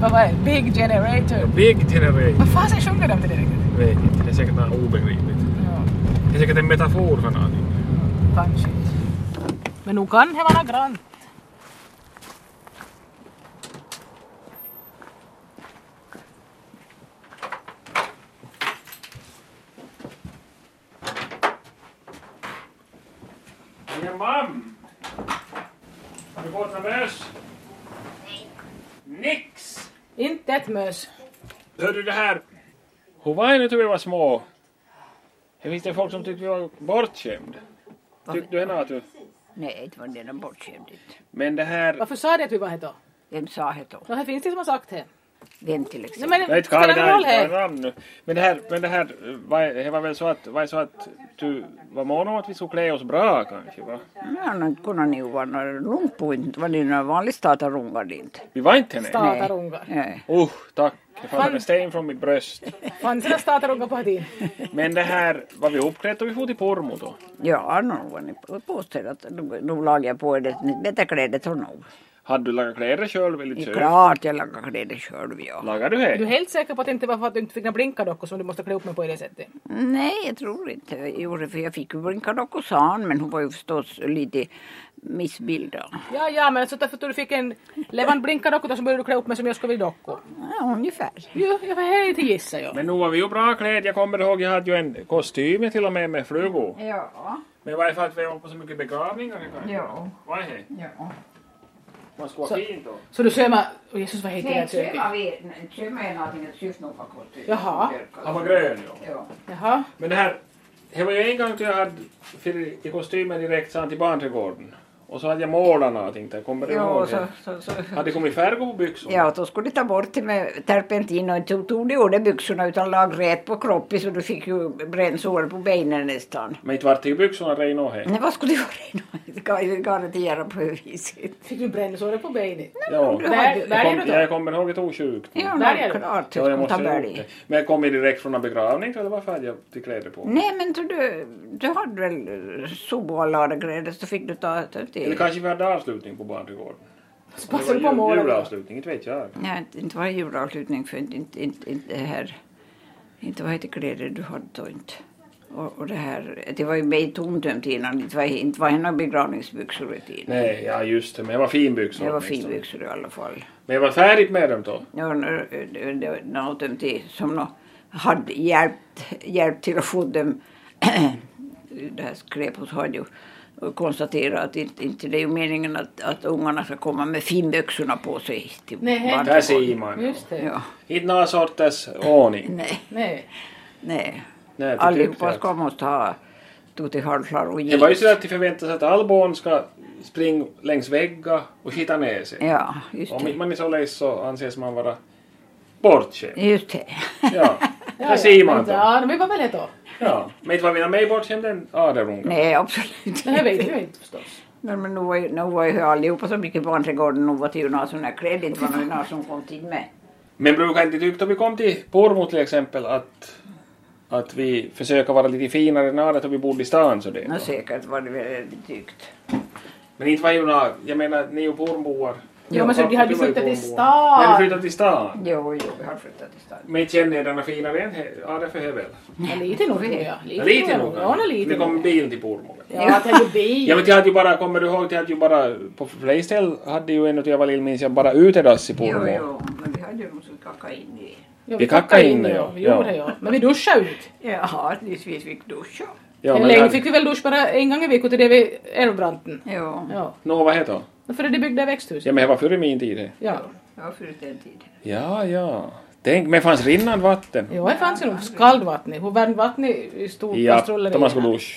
Speaker 1: Vad var det? Big generator.
Speaker 2: Big generator.
Speaker 1: Vad fasen sjunger de till det riktigt?
Speaker 2: Vet inte, det är säkert något obegripligt.
Speaker 1: Ja,
Speaker 2: Det är säkert en metafor för någonting.
Speaker 1: kanske. Men nog kan det vara grant.
Speaker 2: Ja, mam! Har du fått något möss? Nix!
Speaker 1: Inte ett mös.
Speaker 2: Hör du det här? Hur var det nu när vi var små? Det finns det folk som tyckte vi var bortskämda. Tyckte du henne att du...
Speaker 4: Nej, inte var det någon bortskämdhet.
Speaker 2: Men det här...
Speaker 1: Varför sa de att vi var här då?
Speaker 4: Vem sa det då?
Speaker 1: Nå, här finns det som har sagt det.
Speaker 4: Vem till exempel?
Speaker 1: Nej, men
Speaker 2: Nej,
Speaker 1: det
Speaker 2: inte kan vi
Speaker 1: spelar
Speaker 2: det
Speaker 1: ingen roll
Speaker 2: här,
Speaker 1: här.
Speaker 2: namn nu. Men det här, men det här eh, var, det var väl så att, var det så att du var mån om att vi skulle klä oss bra kanske va?
Speaker 4: Jag har inte kunnat neuva några långpunt. Var det någon vanlig statarungar inte? Eh,
Speaker 2: Vi var inte henne.
Speaker 1: Statarungar.
Speaker 4: Nej.
Speaker 2: Usch, tack. Jag fattade en sten från mitt bröst.
Speaker 1: Fanns det några statarungar på Hadin?
Speaker 2: Men det här, var vi uppklädda och vi for till Pormo då?
Speaker 4: Ja, nog var ni på- påstår att nog- nog lagar jag på det. ni- Detta klädet har nog.
Speaker 2: Hade du lagat kläder själv eller
Speaker 4: Det är
Speaker 2: så?
Speaker 4: klart jag lagar kläder själv ja.
Speaker 2: Lagar du det?
Speaker 1: Du är helt säker på att det inte var för att du inte fick några blinkadockor som du måste klä upp med på i det sättet?
Speaker 4: Nej, jag tror inte jag gjorde det, för jag fick ju blinka dokosan men hon var ju förstås lite missbildad.
Speaker 1: Ja, ja, men så därför att du fick en levande blinkadocka så började du klä upp mig som jag skulle vilja dockor.
Speaker 4: Ja, ungefär.
Speaker 1: Jo, jag var här inte gissa jag.
Speaker 2: Men nu var vi ju bra klädda. Jag kommer ihåg jag hade ju en kostym till och med med flugor.
Speaker 4: Ja,
Speaker 2: Men varför att vi var på så mycket begravningar kanske?
Speaker 4: ja,
Speaker 2: Vad är det?
Speaker 4: ja.
Speaker 2: Man ska vara
Speaker 1: Så-
Speaker 2: fin då.
Speaker 1: Så du sömmar... Åh Jesus vad heter det här köket?
Speaker 4: Kömma är någonting att syfta på kostym.
Speaker 1: Jaha.
Speaker 2: Han var grön ja.
Speaker 4: Ja.
Speaker 1: Jaha.
Speaker 2: Men det här, det var ju en gång då jag hade för- i kostymen direkt sen till barnträdgården. Och så hade jag målat någonting där, kommer du
Speaker 4: Ja,
Speaker 2: ihåg
Speaker 4: så,
Speaker 2: det?
Speaker 4: så, så.
Speaker 2: Hade det kommit färg på byxorna?
Speaker 4: ja, då skulle de ta bort det med terpentin och inte tog de under byxorna utan lag rät på kroppen så du fick ju brännsår på benen nästan.
Speaker 2: Men inte vart det byxorna rein och he.
Speaker 4: Nej, vad skulle det vara? Det kan ju garantera på det viset.
Speaker 1: Fick du brännsåret på benet?
Speaker 2: Ja.
Speaker 4: du-
Speaker 1: Där,
Speaker 4: Jag
Speaker 1: där
Speaker 2: Jag,
Speaker 1: är
Speaker 2: kom,
Speaker 1: du då.
Speaker 2: jag kommer ihåg ett osjukt.
Speaker 4: Ja,
Speaker 1: Där är
Speaker 4: nog
Speaker 1: det.
Speaker 4: klart.
Speaker 2: Ja,
Speaker 4: Jag
Speaker 2: jag
Speaker 4: skulle
Speaker 2: måste
Speaker 4: ta
Speaker 2: ha gjort
Speaker 4: berg.
Speaker 2: det. Men jag kom ju direkt från en begravning eller varför hade jag till kläder på?
Speaker 4: Nej, men du, du, du hade väl eh, soboaladagrädde så fick du ta ta
Speaker 2: Eller
Speaker 4: till.
Speaker 2: kanske vi hade avslutning på barnträdgården?
Speaker 1: Så
Speaker 2: Det var
Speaker 1: passar du på
Speaker 2: jul-
Speaker 1: målet.
Speaker 2: Julavslutning, inte vet jag.
Speaker 4: Nej, inte, inte var det julavslutning för inte, inte, inte, inte det här. Inte vad heter kläder du hade då inte. Och, och det här, det var ju mig tomtömt innan. Inte var, inte var det några begravningsbyxor i tiden.
Speaker 2: Nej, ja just det. Men jag var finbyxor
Speaker 4: Det var
Speaker 2: åtminstone.
Speaker 4: finbyxor i alla fall.
Speaker 2: Men jag var färdig med dem då.
Speaker 4: Ja, nu- det- det- Något om det som nå- hade hjälpt, hjälpt till att få dem, det här skräpet har ju konstaterat att inte, inte det är ju meningen att, att ungarna ska komma med finbyxorna på sig. Till
Speaker 1: Nej.
Speaker 4: barnen.
Speaker 2: Där ser man. ju.
Speaker 1: Just det.
Speaker 4: Ja,
Speaker 2: Inte några sorters ordning.
Speaker 4: nej,
Speaker 1: Nej.
Speaker 4: nej.
Speaker 2: Nej, det tyckte
Speaker 4: Allihopa
Speaker 2: jag.
Speaker 4: ska måste ha tutti halsar och
Speaker 2: Det var ju
Speaker 4: jeans.
Speaker 2: så att det förväntas att all barn ska springa längs väggar och skita ner sig.
Speaker 4: Ja, just
Speaker 2: Om inte
Speaker 4: det.
Speaker 2: man är så less så anses man vara bortskämd.
Speaker 4: Just det.
Speaker 2: Ja,
Speaker 1: Ja,
Speaker 2: där ser man
Speaker 1: Men,
Speaker 2: då.
Speaker 1: Ja, men vad väl det då?
Speaker 2: Ja. Men inte var mina mig bortskämd än Adelunga.
Speaker 4: Nej, absolut
Speaker 1: Det här vet jag ju inte förstås.
Speaker 4: Men, men nu var ju, nu var ju allihopa så mycket barnträdgården nu var det ju några sådana kredit, det var nog några som kom till med.
Speaker 2: Men brukar inte tycka om vi kom till Pormo till exempel att, att vi försöker vara lite finare än Adet och vi bodde i stan så det.
Speaker 4: Nå,
Speaker 2: då.
Speaker 4: säkert var det väl tyckt.
Speaker 2: Men inte var ju några, jag menar ni är ju Pormboar.
Speaker 1: Jo, men så
Speaker 2: Pappa,
Speaker 1: de hade
Speaker 2: du var ju
Speaker 1: flyttat till
Speaker 2: Pormboar.
Speaker 1: stan.
Speaker 2: Nej, ni flyttat till stan.
Speaker 4: Jo, jo, vi har flyttat till stan.
Speaker 2: Men inte känner jag denna finare än he- Adet för Hevel.
Speaker 1: Ja, lite nog tror jag.
Speaker 2: Ja, lite
Speaker 1: nog.
Speaker 2: nog.
Speaker 1: Ja, nej,
Speaker 2: Det
Speaker 1: lite
Speaker 2: kom
Speaker 1: nog.
Speaker 2: bilen till Pormo.
Speaker 1: Ja, det är ju bil.
Speaker 2: Ja men jag hade ju bara, kommer du ihåg, jag hade ju bara, på flera ställen hade ju en och jag var lill minns jag bara utedass i
Speaker 4: Jo,
Speaker 2: Pormo.
Speaker 4: jo, men vi hade ju någon som kackade in i.
Speaker 1: Ja,
Speaker 2: vi kackade in,
Speaker 1: ja.
Speaker 2: ja.
Speaker 1: Vi gjorde
Speaker 2: Ja.
Speaker 1: ja. Men vi duschade ut.
Speaker 4: Jaha, tills vi fick duscha.
Speaker 2: Ja, men
Speaker 1: Länge
Speaker 2: jag-
Speaker 1: fick vi väl dusch bara en gång i veckan till det vid Älvbranten.
Speaker 4: Jo,
Speaker 1: Ja.
Speaker 2: Nå, vad heter det?
Speaker 1: För det byggde växthus.
Speaker 2: Ja men det var före min tid det.
Speaker 1: Ja.
Speaker 4: det var förut den tiden.
Speaker 2: Ja, ja. Tänk, men fanns rinnande vatten?
Speaker 1: Ja, det fanns ju nog skaldvatten i. Hon värmde vatten i i stor
Speaker 2: Ja,
Speaker 1: kastruller.
Speaker 2: då man skulle duscha.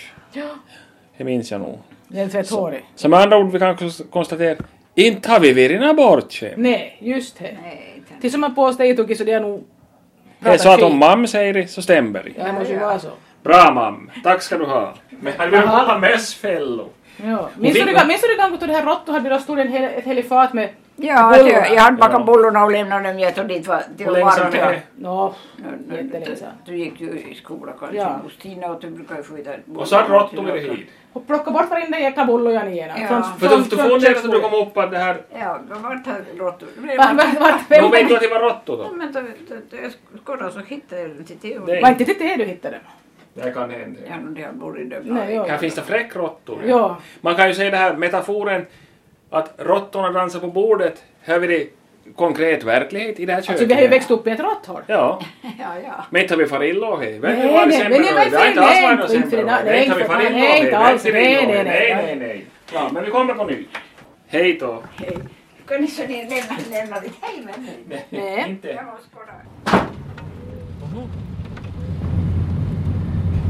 Speaker 2: Det minns jag nog.
Speaker 1: Det är tvätthårig.
Speaker 2: Så med andra ord, vi kan kons- konstatera, inte har vi virrina bort Det
Speaker 1: Nej, just det.
Speaker 4: Nej, inte.
Speaker 1: Tills som man påstår i Tukis så det är nog...
Speaker 2: är så att
Speaker 1: Pratar
Speaker 2: om mam säger det så stämmer det.
Speaker 1: Ja, det måste ju
Speaker 4: Ja, ja.
Speaker 1: vara så.
Speaker 2: Bra mam, tack ska du ha. Men hade vi alla mössfällor?
Speaker 1: Ja. Minns du
Speaker 2: fick-
Speaker 1: det- minns du det gången då det här råttor hade då stod en hel, ett helifat med...
Speaker 4: Ja, det,
Speaker 1: Bullar.
Speaker 4: jag hade bakat
Speaker 2: Ja.
Speaker 4: bullarna och lämnat dem jätte och dit var det
Speaker 2: Och
Speaker 4: var
Speaker 2: längs
Speaker 4: varmt.
Speaker 2: med,
Speaker 4: ja.
Speaker 1: Nå,
Speaker 4: Ja, nu-
Speaker 1: jättelänge sedan.
Speaker 4: Du gick ju i skolan kanske
Speaker 1: Ja.
Speaker 4: hos Tina och du brukade ju få ut
Speaker 2: och så råttor i det hit.
Speaker 1: Och plocka bort varenda jäkla bollojan igen.
Speaker 4: Ja.
Speaker 1: Från,
Speaker 2: För
Speaker 1: från-
Speaker 2: du, du
Speaker 1: från
Speaker 2: får när du
Speaker 1: köksbordet.
Speaker 2: kom upp att det här...
Speaker 4: Ja, det var inte råttor.
Speaker 1: Va- va- va-
Speaker 2: Men
Speaker 1: vem-
Speaker 2: hon vet du att det var råttor då?
Speaker 4: Men då- då- då- jag skulle så hittade jag den till Theo.
Speaker 2: Nej.
Speaker 1: Var inte det det du hittade den?
Speaker 2: Det här kan hända.
Speaker 4: Ja, nu det har bor i den.
Speaker 1: Nej, ja.
Speaker 2: Här finns det fräckråttor.
Speaker 1: Ja.
Speaker 2: Man kan ju säga det här metaforen att råttorna dansar på bordet. Här är det konkret verklighet i det här köket.
Speaker 1: Alltså vi har ju växt upp i ett råtthål.
Speaker 2: Ja.
Speaker 4: Ja, ja.
Speaker 2: Men inte har vi farit illa av det.
Speaker 1: Nej, nej, men det var
Speaker 2: Det har inte alls varit något
Speaker 1: inte för
Speaker 2: sämre.
Speaker 1: det.
Speaker 2: Nej, inte har
Speaker 1: Nej,
Speaker 2: vi farit
Speaker 1: inte
Speaker 2: illa av det.
Speaker 1: alls.
Speaker 2: Vi har inte
Speaker 1: Nej,
Speaker 2: illa av det.
Speaker 1: nej, nej.
Speaker 2: Nej, nej, nej. Ja, men vi kommer på nytt. Hej då.
Speaker 4: Hej. Kan ni så ni lämna, lämna ditt hem ännu?
Speaker 1: Nej.
Speaker 2: Inte.
Speaker 4: Jag måste kolla.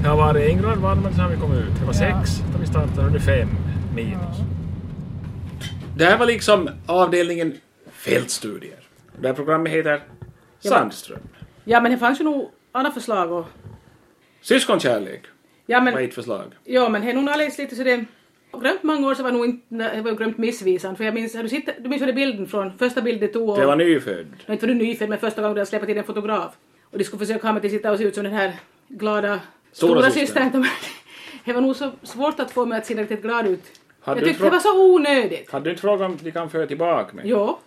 Speaker 2: Det har varit en grad varmare sen vi kom ut. Det var sex när vi startade och nu fem minus. Det här var liksom avdelningen fältstudier. Det här programmet heter Sandström.
Speaker 1: Ja men det fanns ju nog andra förslag och...
Speaker 2: Syskonkärlek
Speaker 1: Ja men,
Speaker 2: var ett förslag.
Speaker 1: ja, men det är nog alldeles lite så det... Grömt många år så var nog inte, nej, det var ju grömt missvisande för jag minns, har du, sett, du minns ju den bilden från första bilden du tog och...
Speaker 2: Det var nyfödd.
Speaker 1: Nå, inte var du nyfödd men första gången du hade släppt till en fotograf. Och de skulle försöka ha mig till att sitta och se ut som den här glada
Speaker 2: Stora
Speaker 1: stora
Speaker 2: systern.
Speaker 1: systern. Det var nog så svårt att få mig att se riktigt glad ut.
Speaker 2: Hade
Speaker 1: jag
Speaker 2: du
Speaker 1: tyckte
Speaker 2: frå-
Speaker 1: det var så onödigt.
Speaker 2: Hade du inte frågat om vi kan föra tillbaka mig?
Speaker 1: Jo.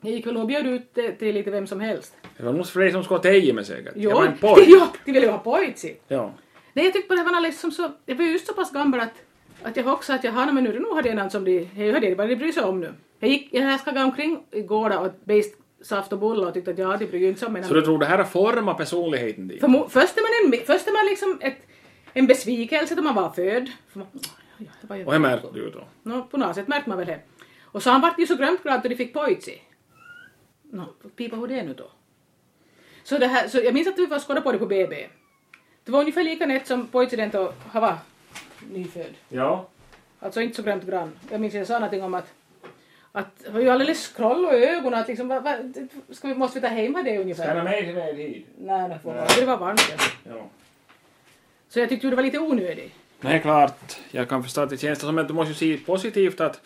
Speaker 1: Jag gick väl och bjöd ut det till lite vem som helst.
Speaker 2: Det var nog Frej som skott eje med säkert.
Speaker 1: Jo.
Speaker 2: Det var en pojk.
Speaker 1: ja, de ville ju ha pojk.
Speaker 2: Ja.
Speaker 1: Nej, jag tyckte bara det var alldeles som så... Jag var ju just så pass gammal att, att jag också att jag har men nu är det nog hade någon som de... Jag hörde det bara de bryr sig om nu. Jag gick... Jag härskade omkring igår och åt beist saft och bullar och tyckte att ja, de bryr ju inte sig om mig.
Speaker 2: Så du tror det här har format personligheten din?
Speaker 1: För mo- först är man, en, först är man liksom ett, en besvikelse då man var född. För man, ja, det var ju-
Speaker 2: Och hur märkte du då?
Speaker 1: Nå, på något sätt märkte man väl det. Och så han vart ju så grömt glad då de fick pojsi. Nå, pipa hur det är nu då? Så, det här, så jag minns att vi var skådda på det på BB. Det var ungefär lika nätt som pojsi den då han var nyfödd.
Speaker 2: Ja.
Speaker 1: Alltså inte så grömt grann. Jag minns jag sa någonting om att att har ju alldeles skroll och ögon att liksom, va, va, ska vi, måste vi ta hem det ungefär?
Speaker 2: Stanna med till med hit.
Speaker 1: Nej, nej, får vara. det var varmt. Ja.
Speaker 2: Ja.
Speaker 1: Så jag tyckte ju det var lite onödigt.
Speaker 2: Nej, klart. Jag kan förstå att det känns som att du måste ju se positivt att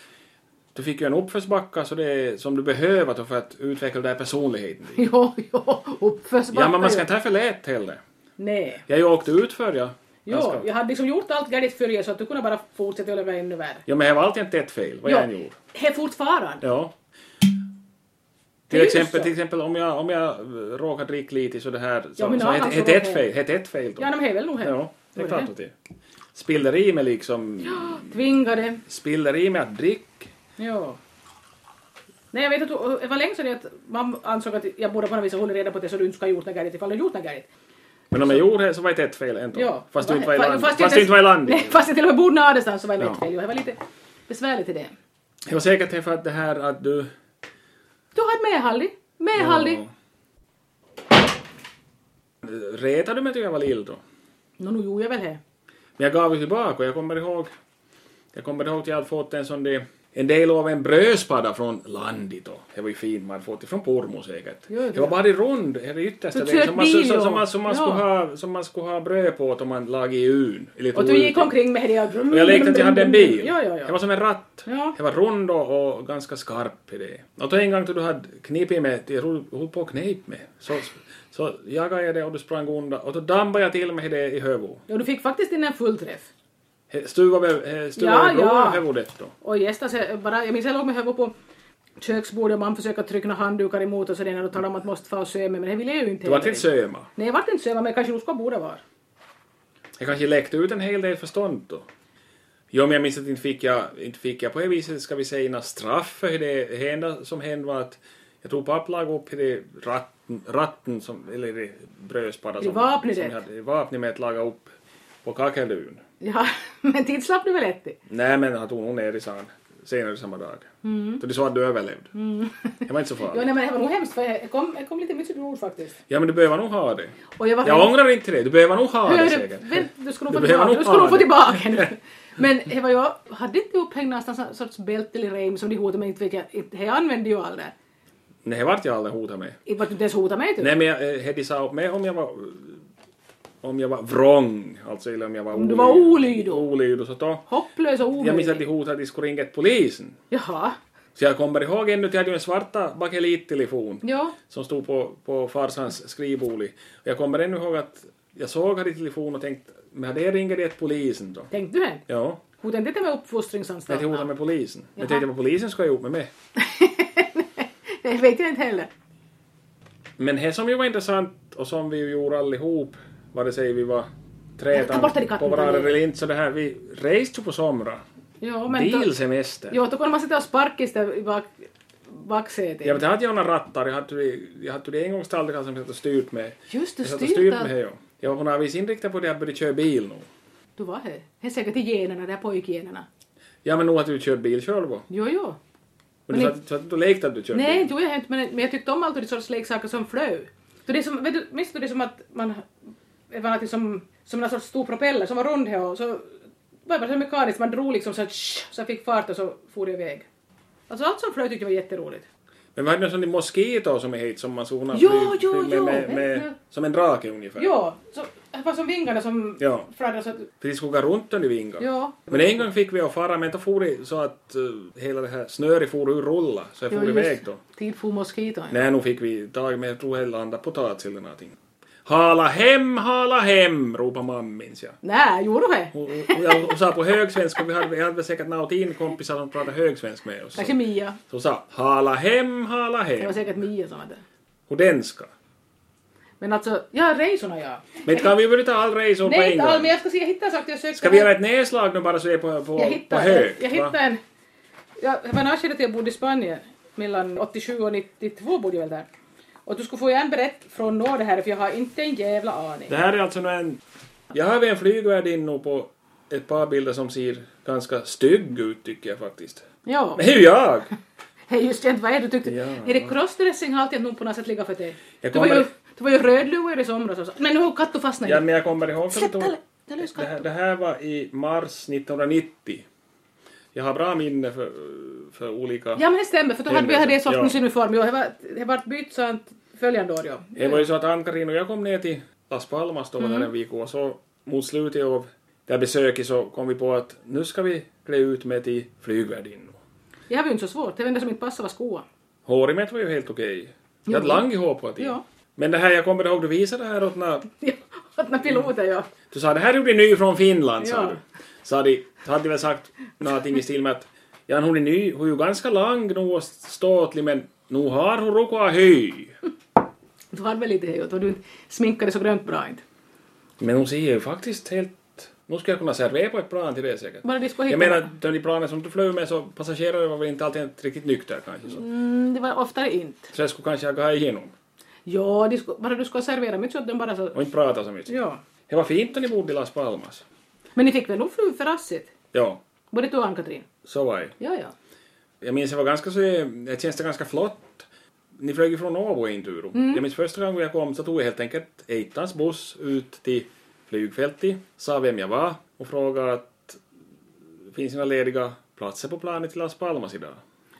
Speaker 2: du fick ju en uppförsbacke så det är som du behöver då för att utveckla den här personligheten. din.
Speaker 1: Jo, jo, uppförsbacke.
Speaker 2: Ja, men man ska
Speaker 1: ju.
Speaker 2: inte ha för lätt heller.
Speaker 1: Nej.
Speaker 2: Jag ju åkte utför, ja.
Speaker 1: Jo,
Speaker 2: Ganska-
Speaker 1: jag hade liksom gjort allt galet för er så att du kunde bara fortsätta göra mig ännu värre.
Speaker 2: Ja, men det var alltid inte ett fel, vad
Speaker 1: Jo,
Speaker 2: jag än gjorde.
Speaker 1: He fortfarande.
Speaker 2: Ja.
Speaker 1: Det
Speaker 2: Till
Speaker 1: är ju
Speaker 2: exempel,
Speaker 1: så.
Speaker 2: till exempel om jag, om jag eh, råkar dricka lite så det här, så,
Speaker 1: Ja, men
Speaker 2: så
Speaker 1: har
Speaker 2: het,
Speaker 1: han så
Speaker 2: het
Speaker 1: var
Speaker 2: ett
Speaker 1: det.
Speaker 2: fel, het ett fel då.
Speaker 1: Ja, men det är väl nog hemskt.
Speaker 2: Ja, det är
Speaker 1: Var
Speaker 2: klart
Speaker 1: det?
Speaker 2: att det Spiller i mig liksom,
Speaker 1: Tvingade.
Speaker 2: spiller i mig att dricka.
Speaker 1: Ja. Nej, jag vet att det var länge sedan att man ansåg att jag borde på något vis ha hållit reda på det så du inte ska ha gjort något galet ifall du gjort något galet.
Speaker 2: Men om jag gjorde det så var det ett fel ändå.
Speaker 1: Ja.
Speaker 2: Fast du inte var i
Speaker 1: Fa-
Speaker 2: landet.
Speaker 1: fast
Speaker 2: Fast,
Speaker 1: jag
Speaker 2: du inte var i
Speaker 1: Nej,
Speaker 2: landet.
Speaker 1: fast jag till och med bodde nära någonstans så var det
Speaker 2: Ja.
Speaker 1: lätt fel. Jo, Det var lite besvärligt i det.
Speaker 2: Jag var säkert det för att det här att du...
Speaker 1: Du hade medhallig. Medhallig.
Speaker 2: Ja. Retade du mig tycker jag var lill då?
Speaker 1: Nå, nu gjorde jag väl det.
Speaker 2: Men jag gav ju tillbaka och jag kommer ihåg... Jag kommer ihåg att jag hade fått en sån där... En del av en brödspadda från landet då. Det var ju fint, man hade fått det från Pormo säkert.
Speaker 1: Jo, det-
Speaker 2: det var bara i rund, det är det yttersta
Speaker 1: Så
Speaker 2: delen som man, som,
Speaker 1: trött bil,
Speaker 2: som, man, som, man
Speaker 1: ja.
Speaker 2: skulle ha, som man skulle ha bröd på om man lag i un. Lite
Speaker 1: Och du gick
Speaker 2: olika.
Speaker 1: omkring med det
Speaker 2: Och jag lekte att jag hade en bil.
Speaker 1: Ja, ja,
Speaker 2: Det
Speaker 1: ja.
Speaker 2: var som en ratt.
Speaker 1: Ja.
Speaker 2: Det var rund och, och ganska skarp i det. Och då en gång då du hade knipit med, jag tror du höll på att knip med, så, så jagade jag det och du sprang undan och då dampade jag till med det i hövo.
Speaker 1: Ja, du fick faktiskt in en fullträff.
Speaker 2: He- Stuvade he- stuvade
Speaker 1: Ja,
Speaker 2: i blod
Speaker 1: ja.
Speaker 2: i hövodet då.
Speaker 1: Och gästar sig bara, jag minns jag låg med huvudet på köksbordet och man försöker trycka några handdukar emot och sådär och talade om att måste få söma men det ville jag ju inte
Speaker 2: Du var inte söma.
Speaker 1: Nej, jag vart inte söma men jag kanske nog ska borde vara.
Speaker 2: Jag kanske läckte ut en hel del förstånd då. Jo, men jag minns att inte fick jag, inte fick jag på det viset, ska vi säga, några straff för det. Det enda som hände var att jag tror pappa lag upp i det ratten, ratten som, eller det brödspadda
Speaker 1: I
Speaker 2: som,
Speaker 1: vapnet.
Speaker 2: som jag hade, i vapnet med att laga upp på kakelun.
Speaker 1: Ja, men tid slapp du väl ett i?
Speaker 2: Nej, men han tog nog ner i sand senare samma dag. Så det sa att du överlevde. Det var inte så
Speaker 1: Mm. Ja,
Speaker 2: farligt.
Speaker 1: nej, men det var nog hemskt för jag kom, jag kom lite mycket blod faktiskt.
Speaker 2: Ja, men du behöver nog ha det.
Speaker 1: Och jag var
Speaker 2: Jag ångrar inte det. Du behöver nog ha det
Speaker 1: Hör,
Speaker 2: säkert.
Speaker 1: vänt, du ska nog få
Speaker 2: Du
Speaker 1: tillbaka,
Speaker 2: behöver nog
Speaker 1: du ska nog få
Speaker 2: ha
Speaker 1: tillbaka den. Men det var jag hade inte upphängt någonstans en sorts bälte eller rem som de hotade mig inte vet jag, inte- jag använde ju aldrig.
Speaker 2: Nej, det vart jag aldrig hotad med.
Speaker 1: Inte vart du inte ens hotade mig typ.
Speaker 2: Nej men jag, eh, Heddy sa åt mig om jag var om jag var vrång, alltså eller om jag var
Speaker 1: Om du var olyd då?
Speaker 2: Olyd och så då.
Speaker 1: Hopplös och
Speaker 2: Jag minns att
Speaker 1: omöjlig.
Speaker 2: de hotade att de skulle ringa till polisen.
Speaker 1: Jaha.
Speaker 2: Så jag kommer ihåg ännu att jag hade ju en svarta bakelittelefon
Speaker 1: Ja.
Speaker 2: som stod på, på farsans skrivbord. Och jag kommer ännu ihåg att jag såg här i telefonen och tänkte, men hade jag ringer det till polisen då?
Speaker 1: Tänkte du det?
Speaker 2: Ja,
Speaker 1: Hotade inte det med
Speaker 2: jag
Speaker 1: uppfostringsanstalterna?
Speaker 2: hotade med polisen. Men
Speaker 1: Jaha.
Speaker 2: jag tänkte vad polisen ska ha gjort med mig.
Speaker 1: Det vet jag inte heller.
Speaker 2: Men det som ju var intressant och som vi ju gjorde allihop, vare sig vi var
Speaker 1: Ta
Speaker 2: trätan
Speaker 1: bort den i
Speaker 2: på
Speaker 1: katten,
Speaker 2: varandra
Speaker 1: Daniel.
Speaker 2: eller inte, så det här, vi reste ju på somra.
Speaker 1: Jo, men då,
Speaker 2: Bilsemester.
Speaker 1: jo, då kunde man sitta och sparka i stä- i bak, baksätet.
Speaker 2: Ja, men det hade jag några rattar, jag hade ju- jag hade ju det engångstallrikar som jag satt och styrt med.
Speaker 1: Just du
Speaker 2: Jag satt och styrt
Speaker 1: styrde
Speaker 2: med det,
Speaker 1: allt.
Speaker 2: ja. Jag var på något vis inriktad på det att börja köra bil nu.
Speaker 1: Du var här. Det är säkert i generna, de här pojkgenerna.
Speaker 2: Ja, men nog att du kört bil själv va?
Speaker 1: Jo, jo.
Speaker 2: Men du
Speaker 1: Men
Speaker 2: sa att- sa att du lekte att du körde
Speaker 1: Nej,
Speaker 2: bil.
Speaker 1: inte gjorde jag inte, men, men jag tyckte om allt och det sorts leksaker som flög. Så det är som, vet du, minns du det är som att man, det var något som, som en sorts stor propeller som var rund här och så var det bara så mekaniskt, man drog liksom så här, tsch, så fick fart och så for det iväg. Alltså allt som flög tyckte jag var jätteroligt.
Speaker 2: Men var det någon sån där moskito som är hit som man zonar
Speaker 1: Jo, jo, jo,
Speaker 2: med, med,
Speaker 1: ja.
Speaker 2: Som en drake ungefär?
Speaker 1: Ja, så, det var som vingarna som
Speaker 2: Ja.
Speaker 1: fladdrar så att...
Speaker 2: För de skulle gå runt under vingar.
Speaker 1: Ja.
Speaker 2: Men en gång fick vi att fara, men då for det så att uh, hela det här snöret for ur rulla, så jag for
Speaker 1: Ja, just.
Speaker 2: iväg då.
Speaker 1: Tid for moskiton.
Speaker 2: Nej, nu fick vi tag med, jag tror jag landade potatis eller någonting. Hala hem, hala hem, ropade mamma, minns jag.
Speaker 1: Nej, gjorde det?
Speaker 2: Och, och, och jag sa på högsvenska, och vi hade, vi hade väl säkert något in kompisar som pratade högsvensk med oss. Så,
Speaker 1: Kanske Mia.
Speaker 2: så hon sa hala hem, hala
Speaker 1: Det
Speaker 2: hem.
Speaker 1: var säkert Mia som hade.
Speaker 2: Och den ska.
Speaker 1: Men alltså, ja, resorna ja.
Speaker 2: Men kan vi väl ta all resor på
Speaker 1: Nej,
Speaker 2: en
Speaker 1: inte all, men
Speaker 2: gång?
Speaker 1: jag ska se, jag hittar en sak. Jag sökte
Speaker 2: Ska vi göra ett nedslag nu bara så det är på, på,
Speaker 1: jag
Speaker 2: på
Speaker 1: hittade,
Speaker 2: hög?
Speaker 1: Jag, jag
Speaker 2: va?
Speaker 1: hittade en... Ja, det var en avsked att jag bodde i Spanien. Mellan 87 och 92 bodde jag väl där. Och du skulle få gärna berätta från när det här för jag har inte en jävla aning.
Speaker 2: Det här är alltså nu en... Jag har en flygvärdinna på ett par bilder som ser ganska stygg ut tycker jag faktiskt.
Speaker 1: Ja.
Speaker 2: Men det är ju jag!
Speaker 1: Hej, just det, inte vad är det du tyckte?
Speaker 2: Ja.
Speaker 1: är det crossdressing har alltid nog på något sätt ligga för dig?
Speaker 2: Jag
Speaker 1: Du var ju,
Speaker 2: kommer-
Speaker 1: du var ju rödluvad i somras och så. Men nu har katten fastnat
Speaker 2: Ja,
Speaker 1: ja,
Speaker 2: men jag kommer ihåg...
Speaker 1: Släpp
Speaker 2: det,
Speaker 1: Kalle! Det är lös
Speaker 2: det, här,
Speaker 1: katten.
Speaker 2: det här var i mars 1990. Jag har bra minne för, för olika...
Speaker 1: Ja men det stämmer för då
Speaker 2: Det är
Speaker 1: hade vi hade
Speaker 2: det,
Speaker 1: en sorts
Speaker 2: ja.
Speaker 1: uniform. Jo, det var- det var bytt sånt följande år ja.
Speaker 2: Det var ju så att Ann-Karin och jag kom ner till Las Palmas då var
Speaker 1: Mm.
Speaker 2: där en vecka och så mot slutet av det här besöket så kom vi på att nu ska vi klä ut mig till flygvärdinnor.
Speaker 1: Det här var ju inte så svårt. Det var det som inte passade var skor.
Speaker 2: Håret var ju helt okej. Jag hade
Speaker 1: Jo.
Speaker 2: langt hår på det.
Speaker 1: Ja.
Speaker 2: Men det här, jag kommer ihåg du visade det här åt när
Speaker 1: Ja, att när piloten ja.
Speaker 2: Du sa det här är ju ny från Finland, sa
Speaker 1: Ja.
Speaker 2: du. Så hade, så hade du väl sagt någonting i stil med att ja, hon är ny, hon är ju ganska lang nog och ståtlig men nu har hon råkat höj.
Speaker 1: Du hade väl lite det och du sminkade så grönt bra inte.
Speaker 2: Men hon ser ju faktiskt helt... Nu skulle jag kunna servera på ett plan till det säkert.
Speaker 1: Bara de skulle hitta
Speaker 2: Jag menar, de planen som du flög med så passagerare var väl inte alltid riktigt nykter kanske. Så,
Speaker 1: Mm, det var oftare inte.
Speaker 2: så jag skulle kanske ha gått igenom
Speaker 1: Ja, de skulle, bara du skulle servera mycket så att de bara så...
Speaker 2: och inte prata så mycket.
Speaker 1: Ja.
Speaker 2: Det var fint när ni bodde i Las Palmas.
Speaker 1: Men ni fick väl nog fru för rassigt?
Speaker 2: Ja,
Speaker 1: Både du och Ann-Katrin?
Speaker 2: så var det.
Speaker 1: Ja, ja.
Speaker 2: Jag minns det var ganska så, det känns det ganska flott. Ni flög ju från Åbo i en tur.
Speaker 1: Mm.
Speaker 2: Jag minns första gången jag kom så tog jag helt enkelt Eitans buss ut till flygfältet, sa vem jag var och frågade att finns det några lediga platser på planet till Las Palmas idag?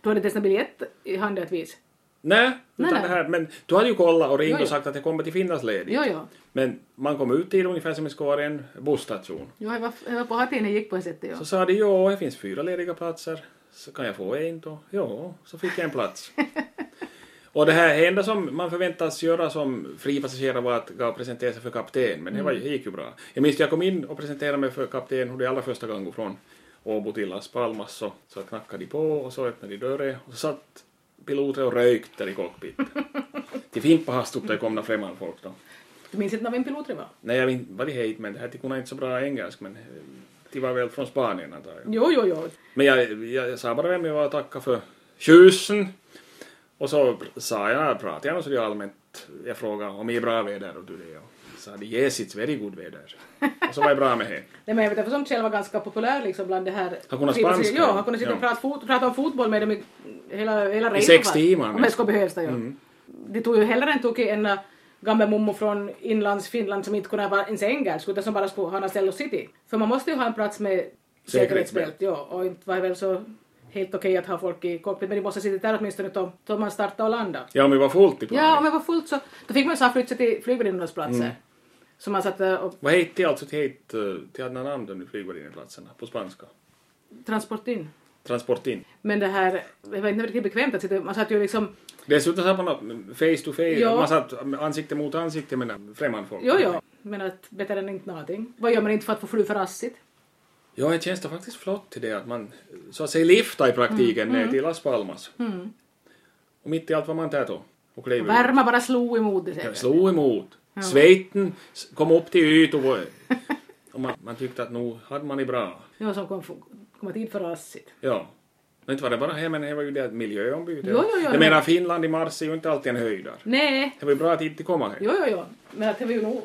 Speaker 1: Du hade inte ens en biljett i handen att visa?
Speaker 2: Nej, utan
Speaker 1: Nej, nej.
Speaker 2: det här. Men du hade ju kollat och ringt
Speaker 1: Jo, jo.
Speaker 2: och sagt att jag kommer till Finlands ledig.
Speaker 1: Ja, ja.
Speaker 2: Men man kom ut till ungefär som det ska vara en busstation.
Speaker 1: Jo, jag var, jag var på hatten jag gick på det sättet, ja.
Speaker 2: Så sa de ja, det finns fyra lediga platser, så kan jag få en då? Ja, så fick jag en plats. Och det här det enda som man förväntas göra som fri passagerare var att gå och presentera sig för kapten, men det, var, det gick ju bra. Jag minns att jag kom in och presenterade mig för kapten hur det allra första gången från Åbo till Las Palmas så, så knackade de på och så öppnade de dörren och så satt piloten och rökte där i cockpiten. Till fint på hastup där kom några främmande folk då.
Speaker 1: Du minns inte när min pilot det var?
Speaker 2: Nej, jag vet inte vad de hette, men det här de kunde inte så bra engelsk, men eh, de var väl från Spanien antar jag.
Speaker 1: Jo, jo, jo.
Speaker 2: Men jag, jag, jag sa bara vem jag var och tackade för tjusen. Och så sa jag, pratade jag nog så det allmänt. Jag frågade om det är bra väder och du det. Och sa de yes it's very good väder. Och så var det bra med det.
Speaker 1: Nej, men jag vet inte, för som Kjell var ganska populär liksom bland det här...
Speaker 2: Han kunde
Speaker 1: Precis,
Speaker 2: spanska,
Speaker 1: Ja, han kunde sitta och
Speaker 2: ja.
Speaker 1: prata, fot, prata om fotboll med dem i hela, hela resan.
Speaker 2: sex
Speaker 1: va?
Speaker 2: timmar, Mm.
Speaker 1: Om det
Speaker 2: men-
Speaker 1: skulle behövas det, ja. Det tog ju hellre än tog en äh, gammal mommo från inlands Finland som inte kunde vara ens engelsk utan som bara skulle ha en ställe och city. För man måste ju ha en plats med säkerhetsbälte, ja. Och inte var det väl så helt okej att ha folk i cockpit, men de måste sitta där åtminstone då- då man startar och landar.
Speaker 2: Ja, Mm. om vi var fullt i planet.
Speaker 1: Ja, om det var fullt så då fick man ju så här flytta till flygvärdinnornas platser. Så man satt äh, och
Speaker 2: Vad hette det alltså till hette, eh, till andra namn de flygvärdinneplatserna på spanska?
Speaker 1: transport in.
Speaker 2: Transport in.
Speaker 1: Men det här, det var inte riktigt bekvämt att sitta, man satt ju liksom,
Speaker 2: Dessutom satt man upp face to face,
Speaker 1: Ja.
Speaker 2: man satt ansikte mot ansikte med främmande folk.
Speaker 1: jo jo, men att bättre än inte någonting. Vad gör man inte för att få fly för rassigt?
Speaker 2: Ja, det känns det faktiskt flott till det att man så att säga liftar i praktiken
Speaker 1: Mm.
Speaker 2: ner till Las Palmas. Och mitt i allt var man där då och klev ut.
Speaker 1: Värma bara slog emot det.
Speaker 2: Jag
Speaker 1: säkert.
Speaker 2: slog emot. Svetten s- kom upp till ytan och, var- och man, man tyckte att nu hade man det bra.
Speaker 1: Det var som kom, komma tid för rassigt.
Speaker 2: Ja. Men inte var det bara här, men det var ju det att miljöombyte.
Speaker 1: Jo, jo, jo,
Speaker 2: jag
Speaker 1: men-
Speaker 2: menar, Finland i mars är ju inte alltid en höjdare.
Speaker 1: Nej,
Speaker 2: Det var ju bra att inte komma här.
Speaker 1: jo jo jo, men att det var ju nog,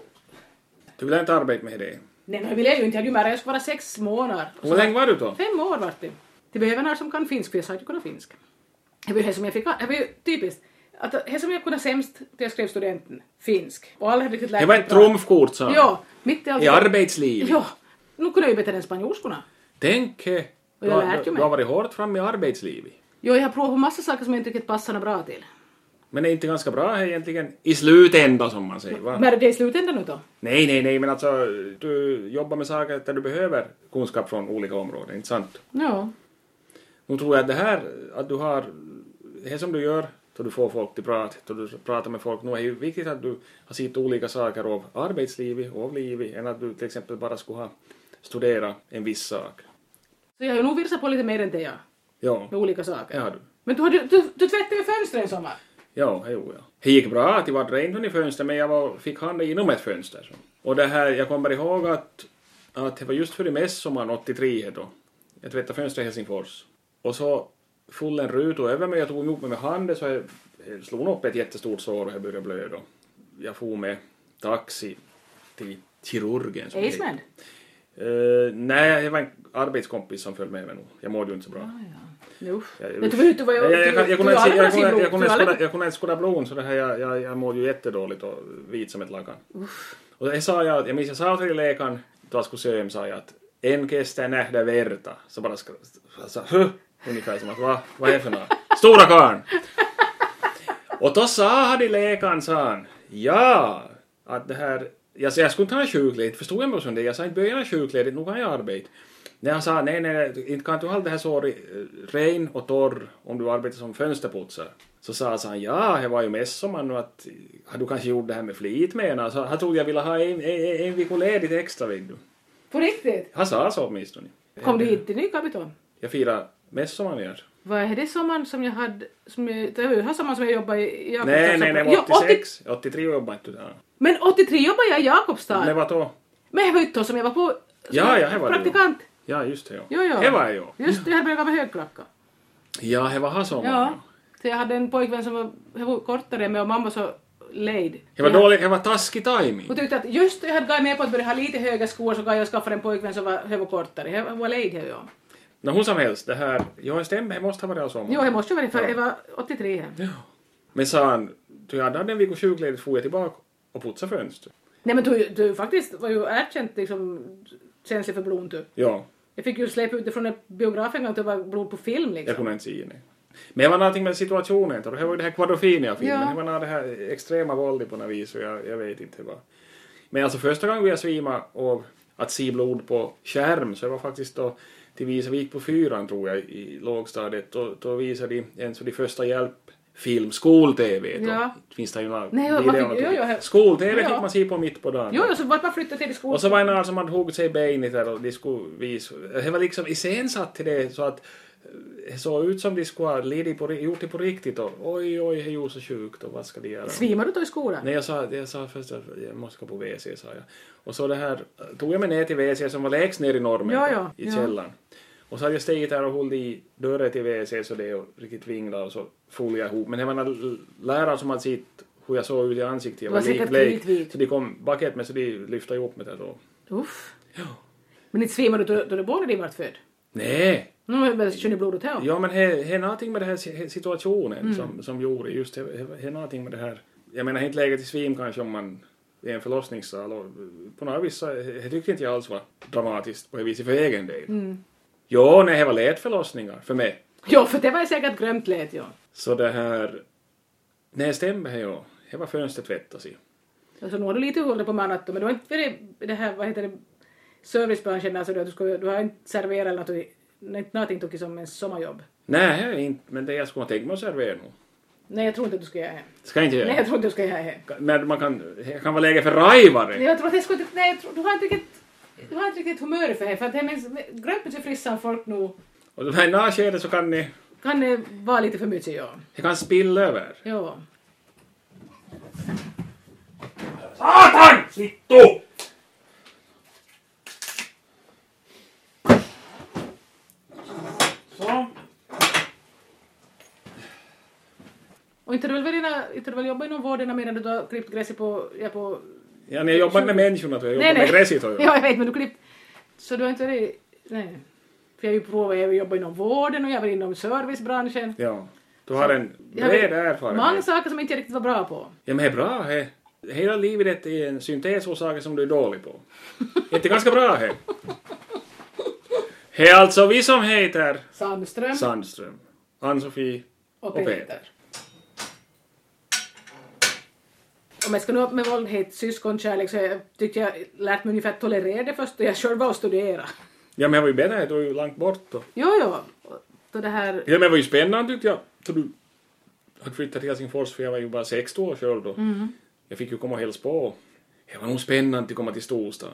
Speaker 2: Du vill inte arbeta med det.
Speaker 1: nej men det ville jag ju inte, jag hade ju märkt jag skulle vara sex månader.
Speaker 2: Hur länge var du då?
Speaker 1: Fem år vart det. Det behöver några som kan finska, för jag sa att jag kunde finska. Det var ju det som jag fick, det var ju typiskt. Att det som jag kunde sämst när jag skrev studenten, finsk. Och alla hade riktigt lärt
Speaker 2: Det var
Speaker 1: sig
Speaker 2: ett
Speaker 1: prata.
Speaker 2: trumfkort, sa han.
Speaker 1: Ja, mitt i allt.
Speaker 2: I arbetslivet.
Speaker 1: Ja, nu kunde jag ju bättre än spanjorskorna.
Speaker 2: Tänk, eh,
Speaker 1: Och
Speaker 2: du
Speaker 1: jag
Speaker 2: har
Speaker 1: lärde ju
Speaker 2: du- du
Speaker 1: mig.
Speaker 2: har varit hårt fram i arbetslivet.
Speaker 1: Jo, jag har provat på massa saker som jag inte riktigt passar bra till.
Speaker 2: Men är inte ganska bra här egentligen? I slutändan som man säger, va?
Speaker 1: Men är det i slutändan nu då?
Speaker 2: Nej, nej, nej, men alltså du jobbar med saker där du behöver kunskap från olika områden, inte sant?
Speaker 1: Ja.
Speaker 2: Nu tror jag att det här, att du har, det här som du gör, då du får folk till prat, då du pratar med folk, nu är det ju viktigt att du har sett olika saker av arbetslivet och av livet, än att du till exempel bara skulle ha studerat en viss sak.
Speaker 1: Så jag har ju nog virsat på lite mer än det jag,
Speaker 2: Ja,
Speaker 1: med olika saker.
Speaker 2: det har du.
Speaker 1: Men du, har- du, du, du tvättade ju fönstren i sommar.
Speaker 2: Ja, det gjorde jag. Det gick bra att det var rent i fönstret, men jag var, fick handen inom ett fönster. Så. Och det här, jag kommer ihåg att, att det var just före midsommar 83 då. Jag tvättade fönstret i Helsingfors. Och så full en ruta över mig, jag tog emot mig med handen så jag, jag slog upp ett jättestort sår och jag började blöda. Jag for med taxi till kirurgen. som det heter.
Speaker 1: Aceman.
Speaker 2: Eh, nej, det var en arbetskompis som följde med mig nog. Jag mådde ju inte så bra.
Speaker 1: Jo.
Speaker 2: Jag-
Speaker 1: Men du var ute och var
Speaker 2: Nej, jag- jag kan-
Speaker 1: du-
Speaker 2: jag
Speaker 1: du
Speaker 2: kunde
Speaker 1: var
Speaker 2: inte-
Speaker 1: aldrig
Speaker 2: jag kunde-
Speaker 1: på
Speaker 2: jag kunde inte
Speaker 1: simblod.
Speaker 2: skåda- Jag kunde inte skåda blod, så det här, jag, jag, jag mådde ju jättedåligt och vit som ett lakan. Och det sa jag, jag minns jag sa till läkaren, då jag skulle söm, sa jag att en kestä nähdä verta. Så bara skra- så, så, "Huh?" ungefär som att va, vad är det för något? Stora karn! Och då sa han i läkaren, sa han, ja, att det här, jag, sa, jag skulle inte ha sjukledigt, förstod jag mig som det? Jag sa inte börja ha sjukledigt, nu kan jag arbeta. När han sa, nej, nej, inte kan du ha det här såret eh, ren och torr om du arbetar som fönsterputsare. Så sa sa han, ja, det var ju midsommar nu att, har du kanske gjort det här med flit menar Så han trodde jag ville ha en, en, en vecka ledigt extra, vet du.
Speaker 1: På riktigt?
Speaker 2: Han sa så åtminstone.
Speaker 1: Kom du hit till Nykapiton?
Speaker 2: Jag firade midsommar ner.
Speaker 1: Vad är det sommaren som jag hade... Som jag, det var ju den här sommaren som jag jobbade i Jakobstad.
Speaker 2: Nej, nej, det
Speaker 1: Jo,
Speaker 2: var
Speaker 1: 80
Speaker 2: 86. 83 jobbade inte du där.
Speaker 1: men 83 jobbade jag i Jakobstad.
Speaker 2: Det var då.
Speaker 1: Men jag var ute som jag var på... som
Speaker 2: Ja, ja, det var det.
Speaker 1: Praktikant.
Speaker 2: Ja, just det.
Speaker 1: Jo, jo.
Speaker 2: Det var jag.
Speaker 1: Just det, jag hade börjat med högklackat.
Speaker 2: Ja, det var han som
Speaker 1: Ja. Så jag hade en pojkvän som var, jag var kortare än mig och mamma var så lejd.
Speaker 2: Det var dålig, det var taskig timing.
Speaker 1: Hon tyckte att just det, jag hade gått med på att börja ha lite höga skor så kan jag skaffa en pojkvän som var, jag var kortare. Jag var lejd jag. ja.
Speaker 2: Nå, hur som helst, det här... Ja, det stämmer, det måste ha varit sommar.
Speaker 1: Jo, jag måste ju vara det, för
Speaker 2: Ja.
Speaker 1: jag var 83 här.
Speaker 2: Ja. Men sa han, du jag hade en vecka sjukledigt for jag tillbaka och putsade fönstret.
Speaker 1: Nej men du, du faktiskt var ju erkänt liksom känslig för blod du.
Speaker 2: Ja,
Speaker 1: Jag fick ju släppa ut det från en biograf en gång till det var blod på film
Speaker 2: jag
Speaker 1: liksom.
Speaker 2: kunde inte se det. Men det var någonting med situationen, det var ju det här Quadrofinia-filmen,
Speaker 1: Ja.
Speaker 2: det var nå det här extrema våldet på något vis och jag, jag vet inte vad. Men alltså första gången jag svimade av att se blod på skärm så det var faktiskt då till visa, vi gick på fyran tror jag i lågstadiet, då, då visade de en så de första hjälpfilm, skol-tv då.
Speaker 1: Ja.
Speaker 2: Finns det ju några
Speaker 1: Nej, vad-
Speaker 2: videor-
Speaker 1: jo, jo, jag-
Speaker 2: Skol-tv
Speaker 1: Ja.
Speaker 2: fick man se på mitt på dagen.
Speaker 1: Jo, jo, så vart man flyttade till skolan.
Speaker 2: Och så var det någon som hade huggit sig i benet där och de skulle visa... Det var liksom iscensatt till det så att eh, det såg ut som de skulle ha lidit på, ri- gjort det på riktigt och oj, oj, det gjorde så sjukt och vad ska de göra?
Speaker 1: Svimmar du då i skolan?
Speaker 2: Nej, jag sa, jag sa först att jag måste gå på WC, sa jag. Och så det här, tog jag mig ner till WC som var lägst ner i normen,
Speaker 1: Ja,
Speaker 2: då,
Speaker 1: ja,
Speaker 2: i
Speaker 1: ja.
Speaker 2: källaren. Och så hade jag stigit där och hållit i dörren till WC så det och riktigt vinglade och så for jag ihop. Men det var en lärare som hade sett hur jag såg ut i ansiktet, jag
Speaker 1: Du var
Speaker 2: var lik-
Speaker 1: säkert kritvit.
Speaker 2: blek. Så de kom bakåt mig så de lyfte ihop mig där då.
Speaker 1: Uff. Men inte svimmar du då, då barnet din vart född?
Speaker 2: Nej!
Speaker 1: Nu har jag väl kört i blodet här.
Speaker 2: Ja, men det är någonting med den här si- he- situationen som, som gjorde just det. Det är någonting med det här. Jag menar, det är inte läget i svim kanske om man är i en förlossningssal och eh, på något vis så eh, det tyckte inte jag alls var dramatiskt på det viset för egen del. Jo, nej, det var lätt förlossningar för mig.
Speaker 1: Jo, för det var jag säkert glömt lät jag.
Speaker 2: Så det här... Nej, det stämmer det ja. Det var fönstertvättas i.
Speaker 1: Alltså nu har du lite huller på mannatto, men du har inte varit i det här, vad heter det, servicebranschen alltså du, du, ska, du har inte serverat eller något, du- inte någonting tog som en sommarjobb.
Speaker 2: Nej, det är inte, men det jag skulle tänka mig att servera nu.
Speaker 1: Nej, jag tror inte att du ska göra det.
Speaker 2: Ska jag inte
Speaker 1: Nej, jag
Speaker 2: göra.
Speaker 1: tror inte du ska göra det.
Speaker 2: Men man kan, det kan vara läge för raivare.
Speaker 1: Nej, Jag tror att jag skulle, nej, jag tror, du har inte riktigt, du har inte riktigt humör för det, för att det minns, grömpet så frissan folk nog
Speaker 2: Och det här närskede så kan ni,
Speaker 1: kan eh, vara lite för mycket, ja.
Speaker 2: det kan spilla över.
Speaker 1: Ja.
Speaker 2: Satan! Vittu! Så.
Speaker 1: Och inte du väl, varit- inte du väl jobbat inom vården medan du har klippt gräset på, ja, på
Speaker 2: Ja, ni har jobbat med människorna, tror jag. jobbat med gräset. har jag.
Speaker 1: Ja, jag vet, men du klippt. Så du har inte varit... Nej. För jag har ju provat, jag har jobbat inom vården och jag har varit inom servicebranschen.
Speaker 2: Ja. Du har en
Speaker 1: Jag har varit-
Speaker 2: bred erfarenhet.
Speaker 1: Många saker som inte jag riktigt var bra på.
Speaker 2: Ja, men det är bra. He. Hela livet är en syntes av saker som du är dålig på. Det är ganska bra. He. He är alltså vi som heter
Speaker 1: Sandström.
Speaker 2: Sandström. Ann-Sofie
Speaker 1: och Peter. Om jag ska nå upp med våld, hate, syskonkärlek så jag tyckte jag lärt mig ungefär att tolerera det först då jag själv var och studerade.
Speaker 2: Ja, men jag var ju bättre, jag var ju långt bort då.
Speaker 1: Jo, jo. Då det här...
Speaker 2: Ja, men det var ju spännande tyckte jag. Så du hade flyttat till Helsingfors för jag var ju bara 16 år själv då.
Speaker 1: Mm.
Speaker 2: Jag fick ju komma och hälsa på. Det var nog spännande att komma till storstan.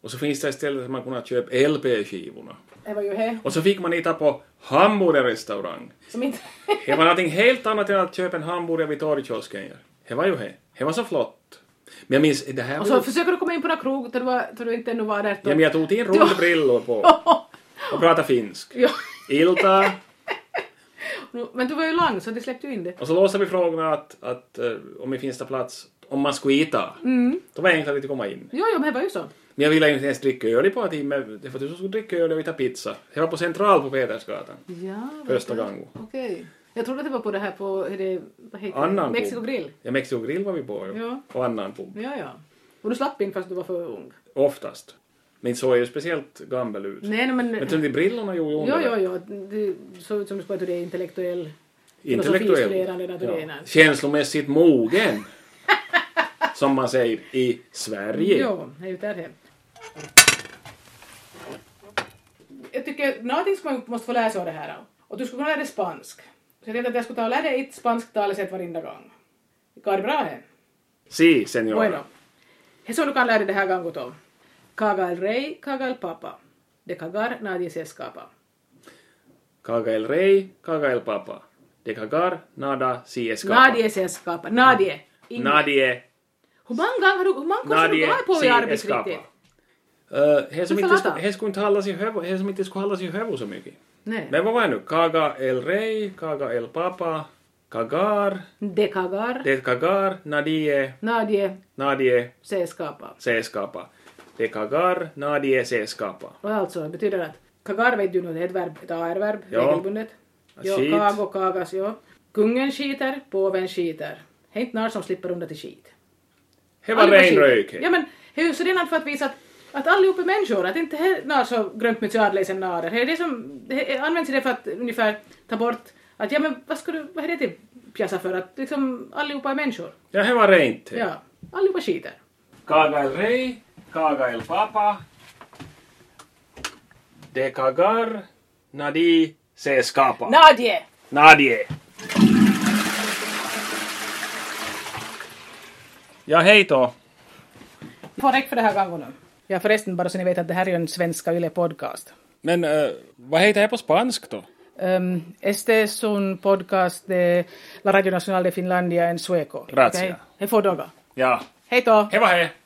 Speaker 2: Och så finns det ett ställe där man kunde köpa LP-skivorna.
Speaker 1: Det var ju he.
Speaker 2: Och så fick man hitta på hamburgerrestaurang.
Speaker 1: Som inte...
Speaker 2: Det var någonting helt annat än att köpa en hamburgare vid torgkiosken. ja. Det var ju det. Det var så flott. Men jag minns, det här
Speaker 1: Och
Speaker 2: var
Speaker 1: så
Speaker 2: ju...
Speaker 1: försöker du komma in på någon krog där du, var, där du inte ännu var där.
Speaker 2: Ja, men jag tog till rundbrillor på
Speaker 1: Ja.
Speaker 2: och pratade finsk.
Speaker 1: Ja.
Speaker 2: Ilta.
Speaker 1: Nu- Men du var ju lång så de släppte ju in det.
Speaker 2: Och så låste vi frågorna att, att eh, om det finns där plats, om man skulle hitta.
Speaker 1: Mm.
Speaker 2: Då var det enklare att komma in.
Speaker 1: Jo, jo, men det var ju så.
Speaker 2: Men jag ville inte ens dricka öl i ett par timmar, för att du skulle dricka öl och vi tar pizza. Det var på Central på Petersgatan.
Speaker 1: Ja, vad
Speaker 2: Första
Speaker 1: bra.
Speaker 2: gången.
Speaker 1: Okej. Jag trodde att det var på det här på, är det, vad heter
Speaker 2: Annan
Speaker 1: det? Mexiko
Speaker 2: pub.
Speaker 1: grill.
Speaker 2: Ja, Mexiko grill var vi på ju.
Speaker 1: Ja.
Speaker 2: Och annan pub.
Speaker 1: Ja, ja. Och du slapp in fast du var för ung.
Speaker 2: Oftast. Men så är ju speciellt gammal ut.
Speaker 1: Nej, nej men...
Speaker 2: Men sen de brillorna gjorde ju
Speaker 1: Jo,
Speaker 2: underverk.
Speaker 1: jo, jo. Det såg ut som du skulle att du är intellektuell. filosofistuderande när du är
Speaker 2: Ja.
Speaker 1: där.
Speaker 2: Känslomässigt mogen. som man säger i Sverige.
Speaker 1: Jo, det är ju där det. Jag tycker någonting som man måste få lära sig av det här. Och du skulle kunna lära dig spansk. Så jag tänkte att jag skulle ta och lära dig ett spanskt talesätt varenda gång. Går det bra här?
Speaker 2: Si, senor.
Speaker 1: Bueno. He solo kan lära dig det här gången då. Caga el rey, caga el papa. De cagar nadie se escapa.
Speaker 2: Caga el rey, caga el papa. De cagar, nada, si escapa.
Speaker 1: Nadie se escapa. Nadie. Ingen.
Speaker 2: Nadie,
Speaker 1: Hur många gånger har du, hur många gånger har du
Speaker 2: nadie,
Speaker 1: varit på
Speaker 2: si
Speaker 1: i
Speaker 2: escapa.
Speaker 1: arbetsriktigt?
Speaker 2: Uh, he som
Speaker 1: Nu
Speaker 2: inte
Speaker 1: får
Speaker 2: sku-
Speaker 1: låta.
Speaker 2: he skulle inte hållas i huvudet, he som inte skulle hållas i huvudet så mycket.
Speaker 1: Nej.
Speaker 2: Men vad var det nu? Caga el rey, caga el papa, cagar,
Speaker 1: De cagar.
Speaker 2: det cagar, nadie,
Speaker 1: Nadie
Speaker 2: nadie,
Speaker 1: se escapa.
Speaker 2: se skapa. De cagar, nadie, se skapa.
Speaker 1: Och alltså, det betyder att kagar vet du nog, det är ett verb, ett AR-verb,
Speaker 2: Ja.
Speaker 1: regelbundet. Jo,
Speaker 2: Skit.
Speaker 1: kago, kagas, jo. Kungen skiter, påven skiter. Det är inte när som slipper undan till skit.
Speaker 2: Det var
Speaker 1: Allihopa
Speaker 2: ren
Speaker 1: skiter.
Speaker 2: rök.
Speaker 1: Ja men, det är ju så redan för att visa att, att allihop är människor, att inte här när så grönt med adlesen nader. Det är det som, det är- används i det för att ungefär ta bort att ja men vad ska du, vad är det till pjäsa för att liksom allihopa är människor.
Speaker 2: Ja, det var rent.
Speaker 1: Ja, allihopa skiter.
Speaker 2: Caga el rey, caga el papa. De cagar, nadie, se skapa.
Speaker 1: Nadie!
Speaker 2: Nadie. Ja, hej då.
Speaker 1: Får räck för det här gången. Ja förresten, bara så ni vet att det här är ju en svenska yle-podcast.
Speaker 2: Men eh, vad heter det på spansk då?
Speaker 1: Um, este es un podcast de la Radio Nacional de Finlandia en sueco.
Speaker 2: Grazie.
Speaker 1: Okej? He får dagar.
Speaker 2: Ja,
Speaker 1: Hej då!
Speaker 2: det var det.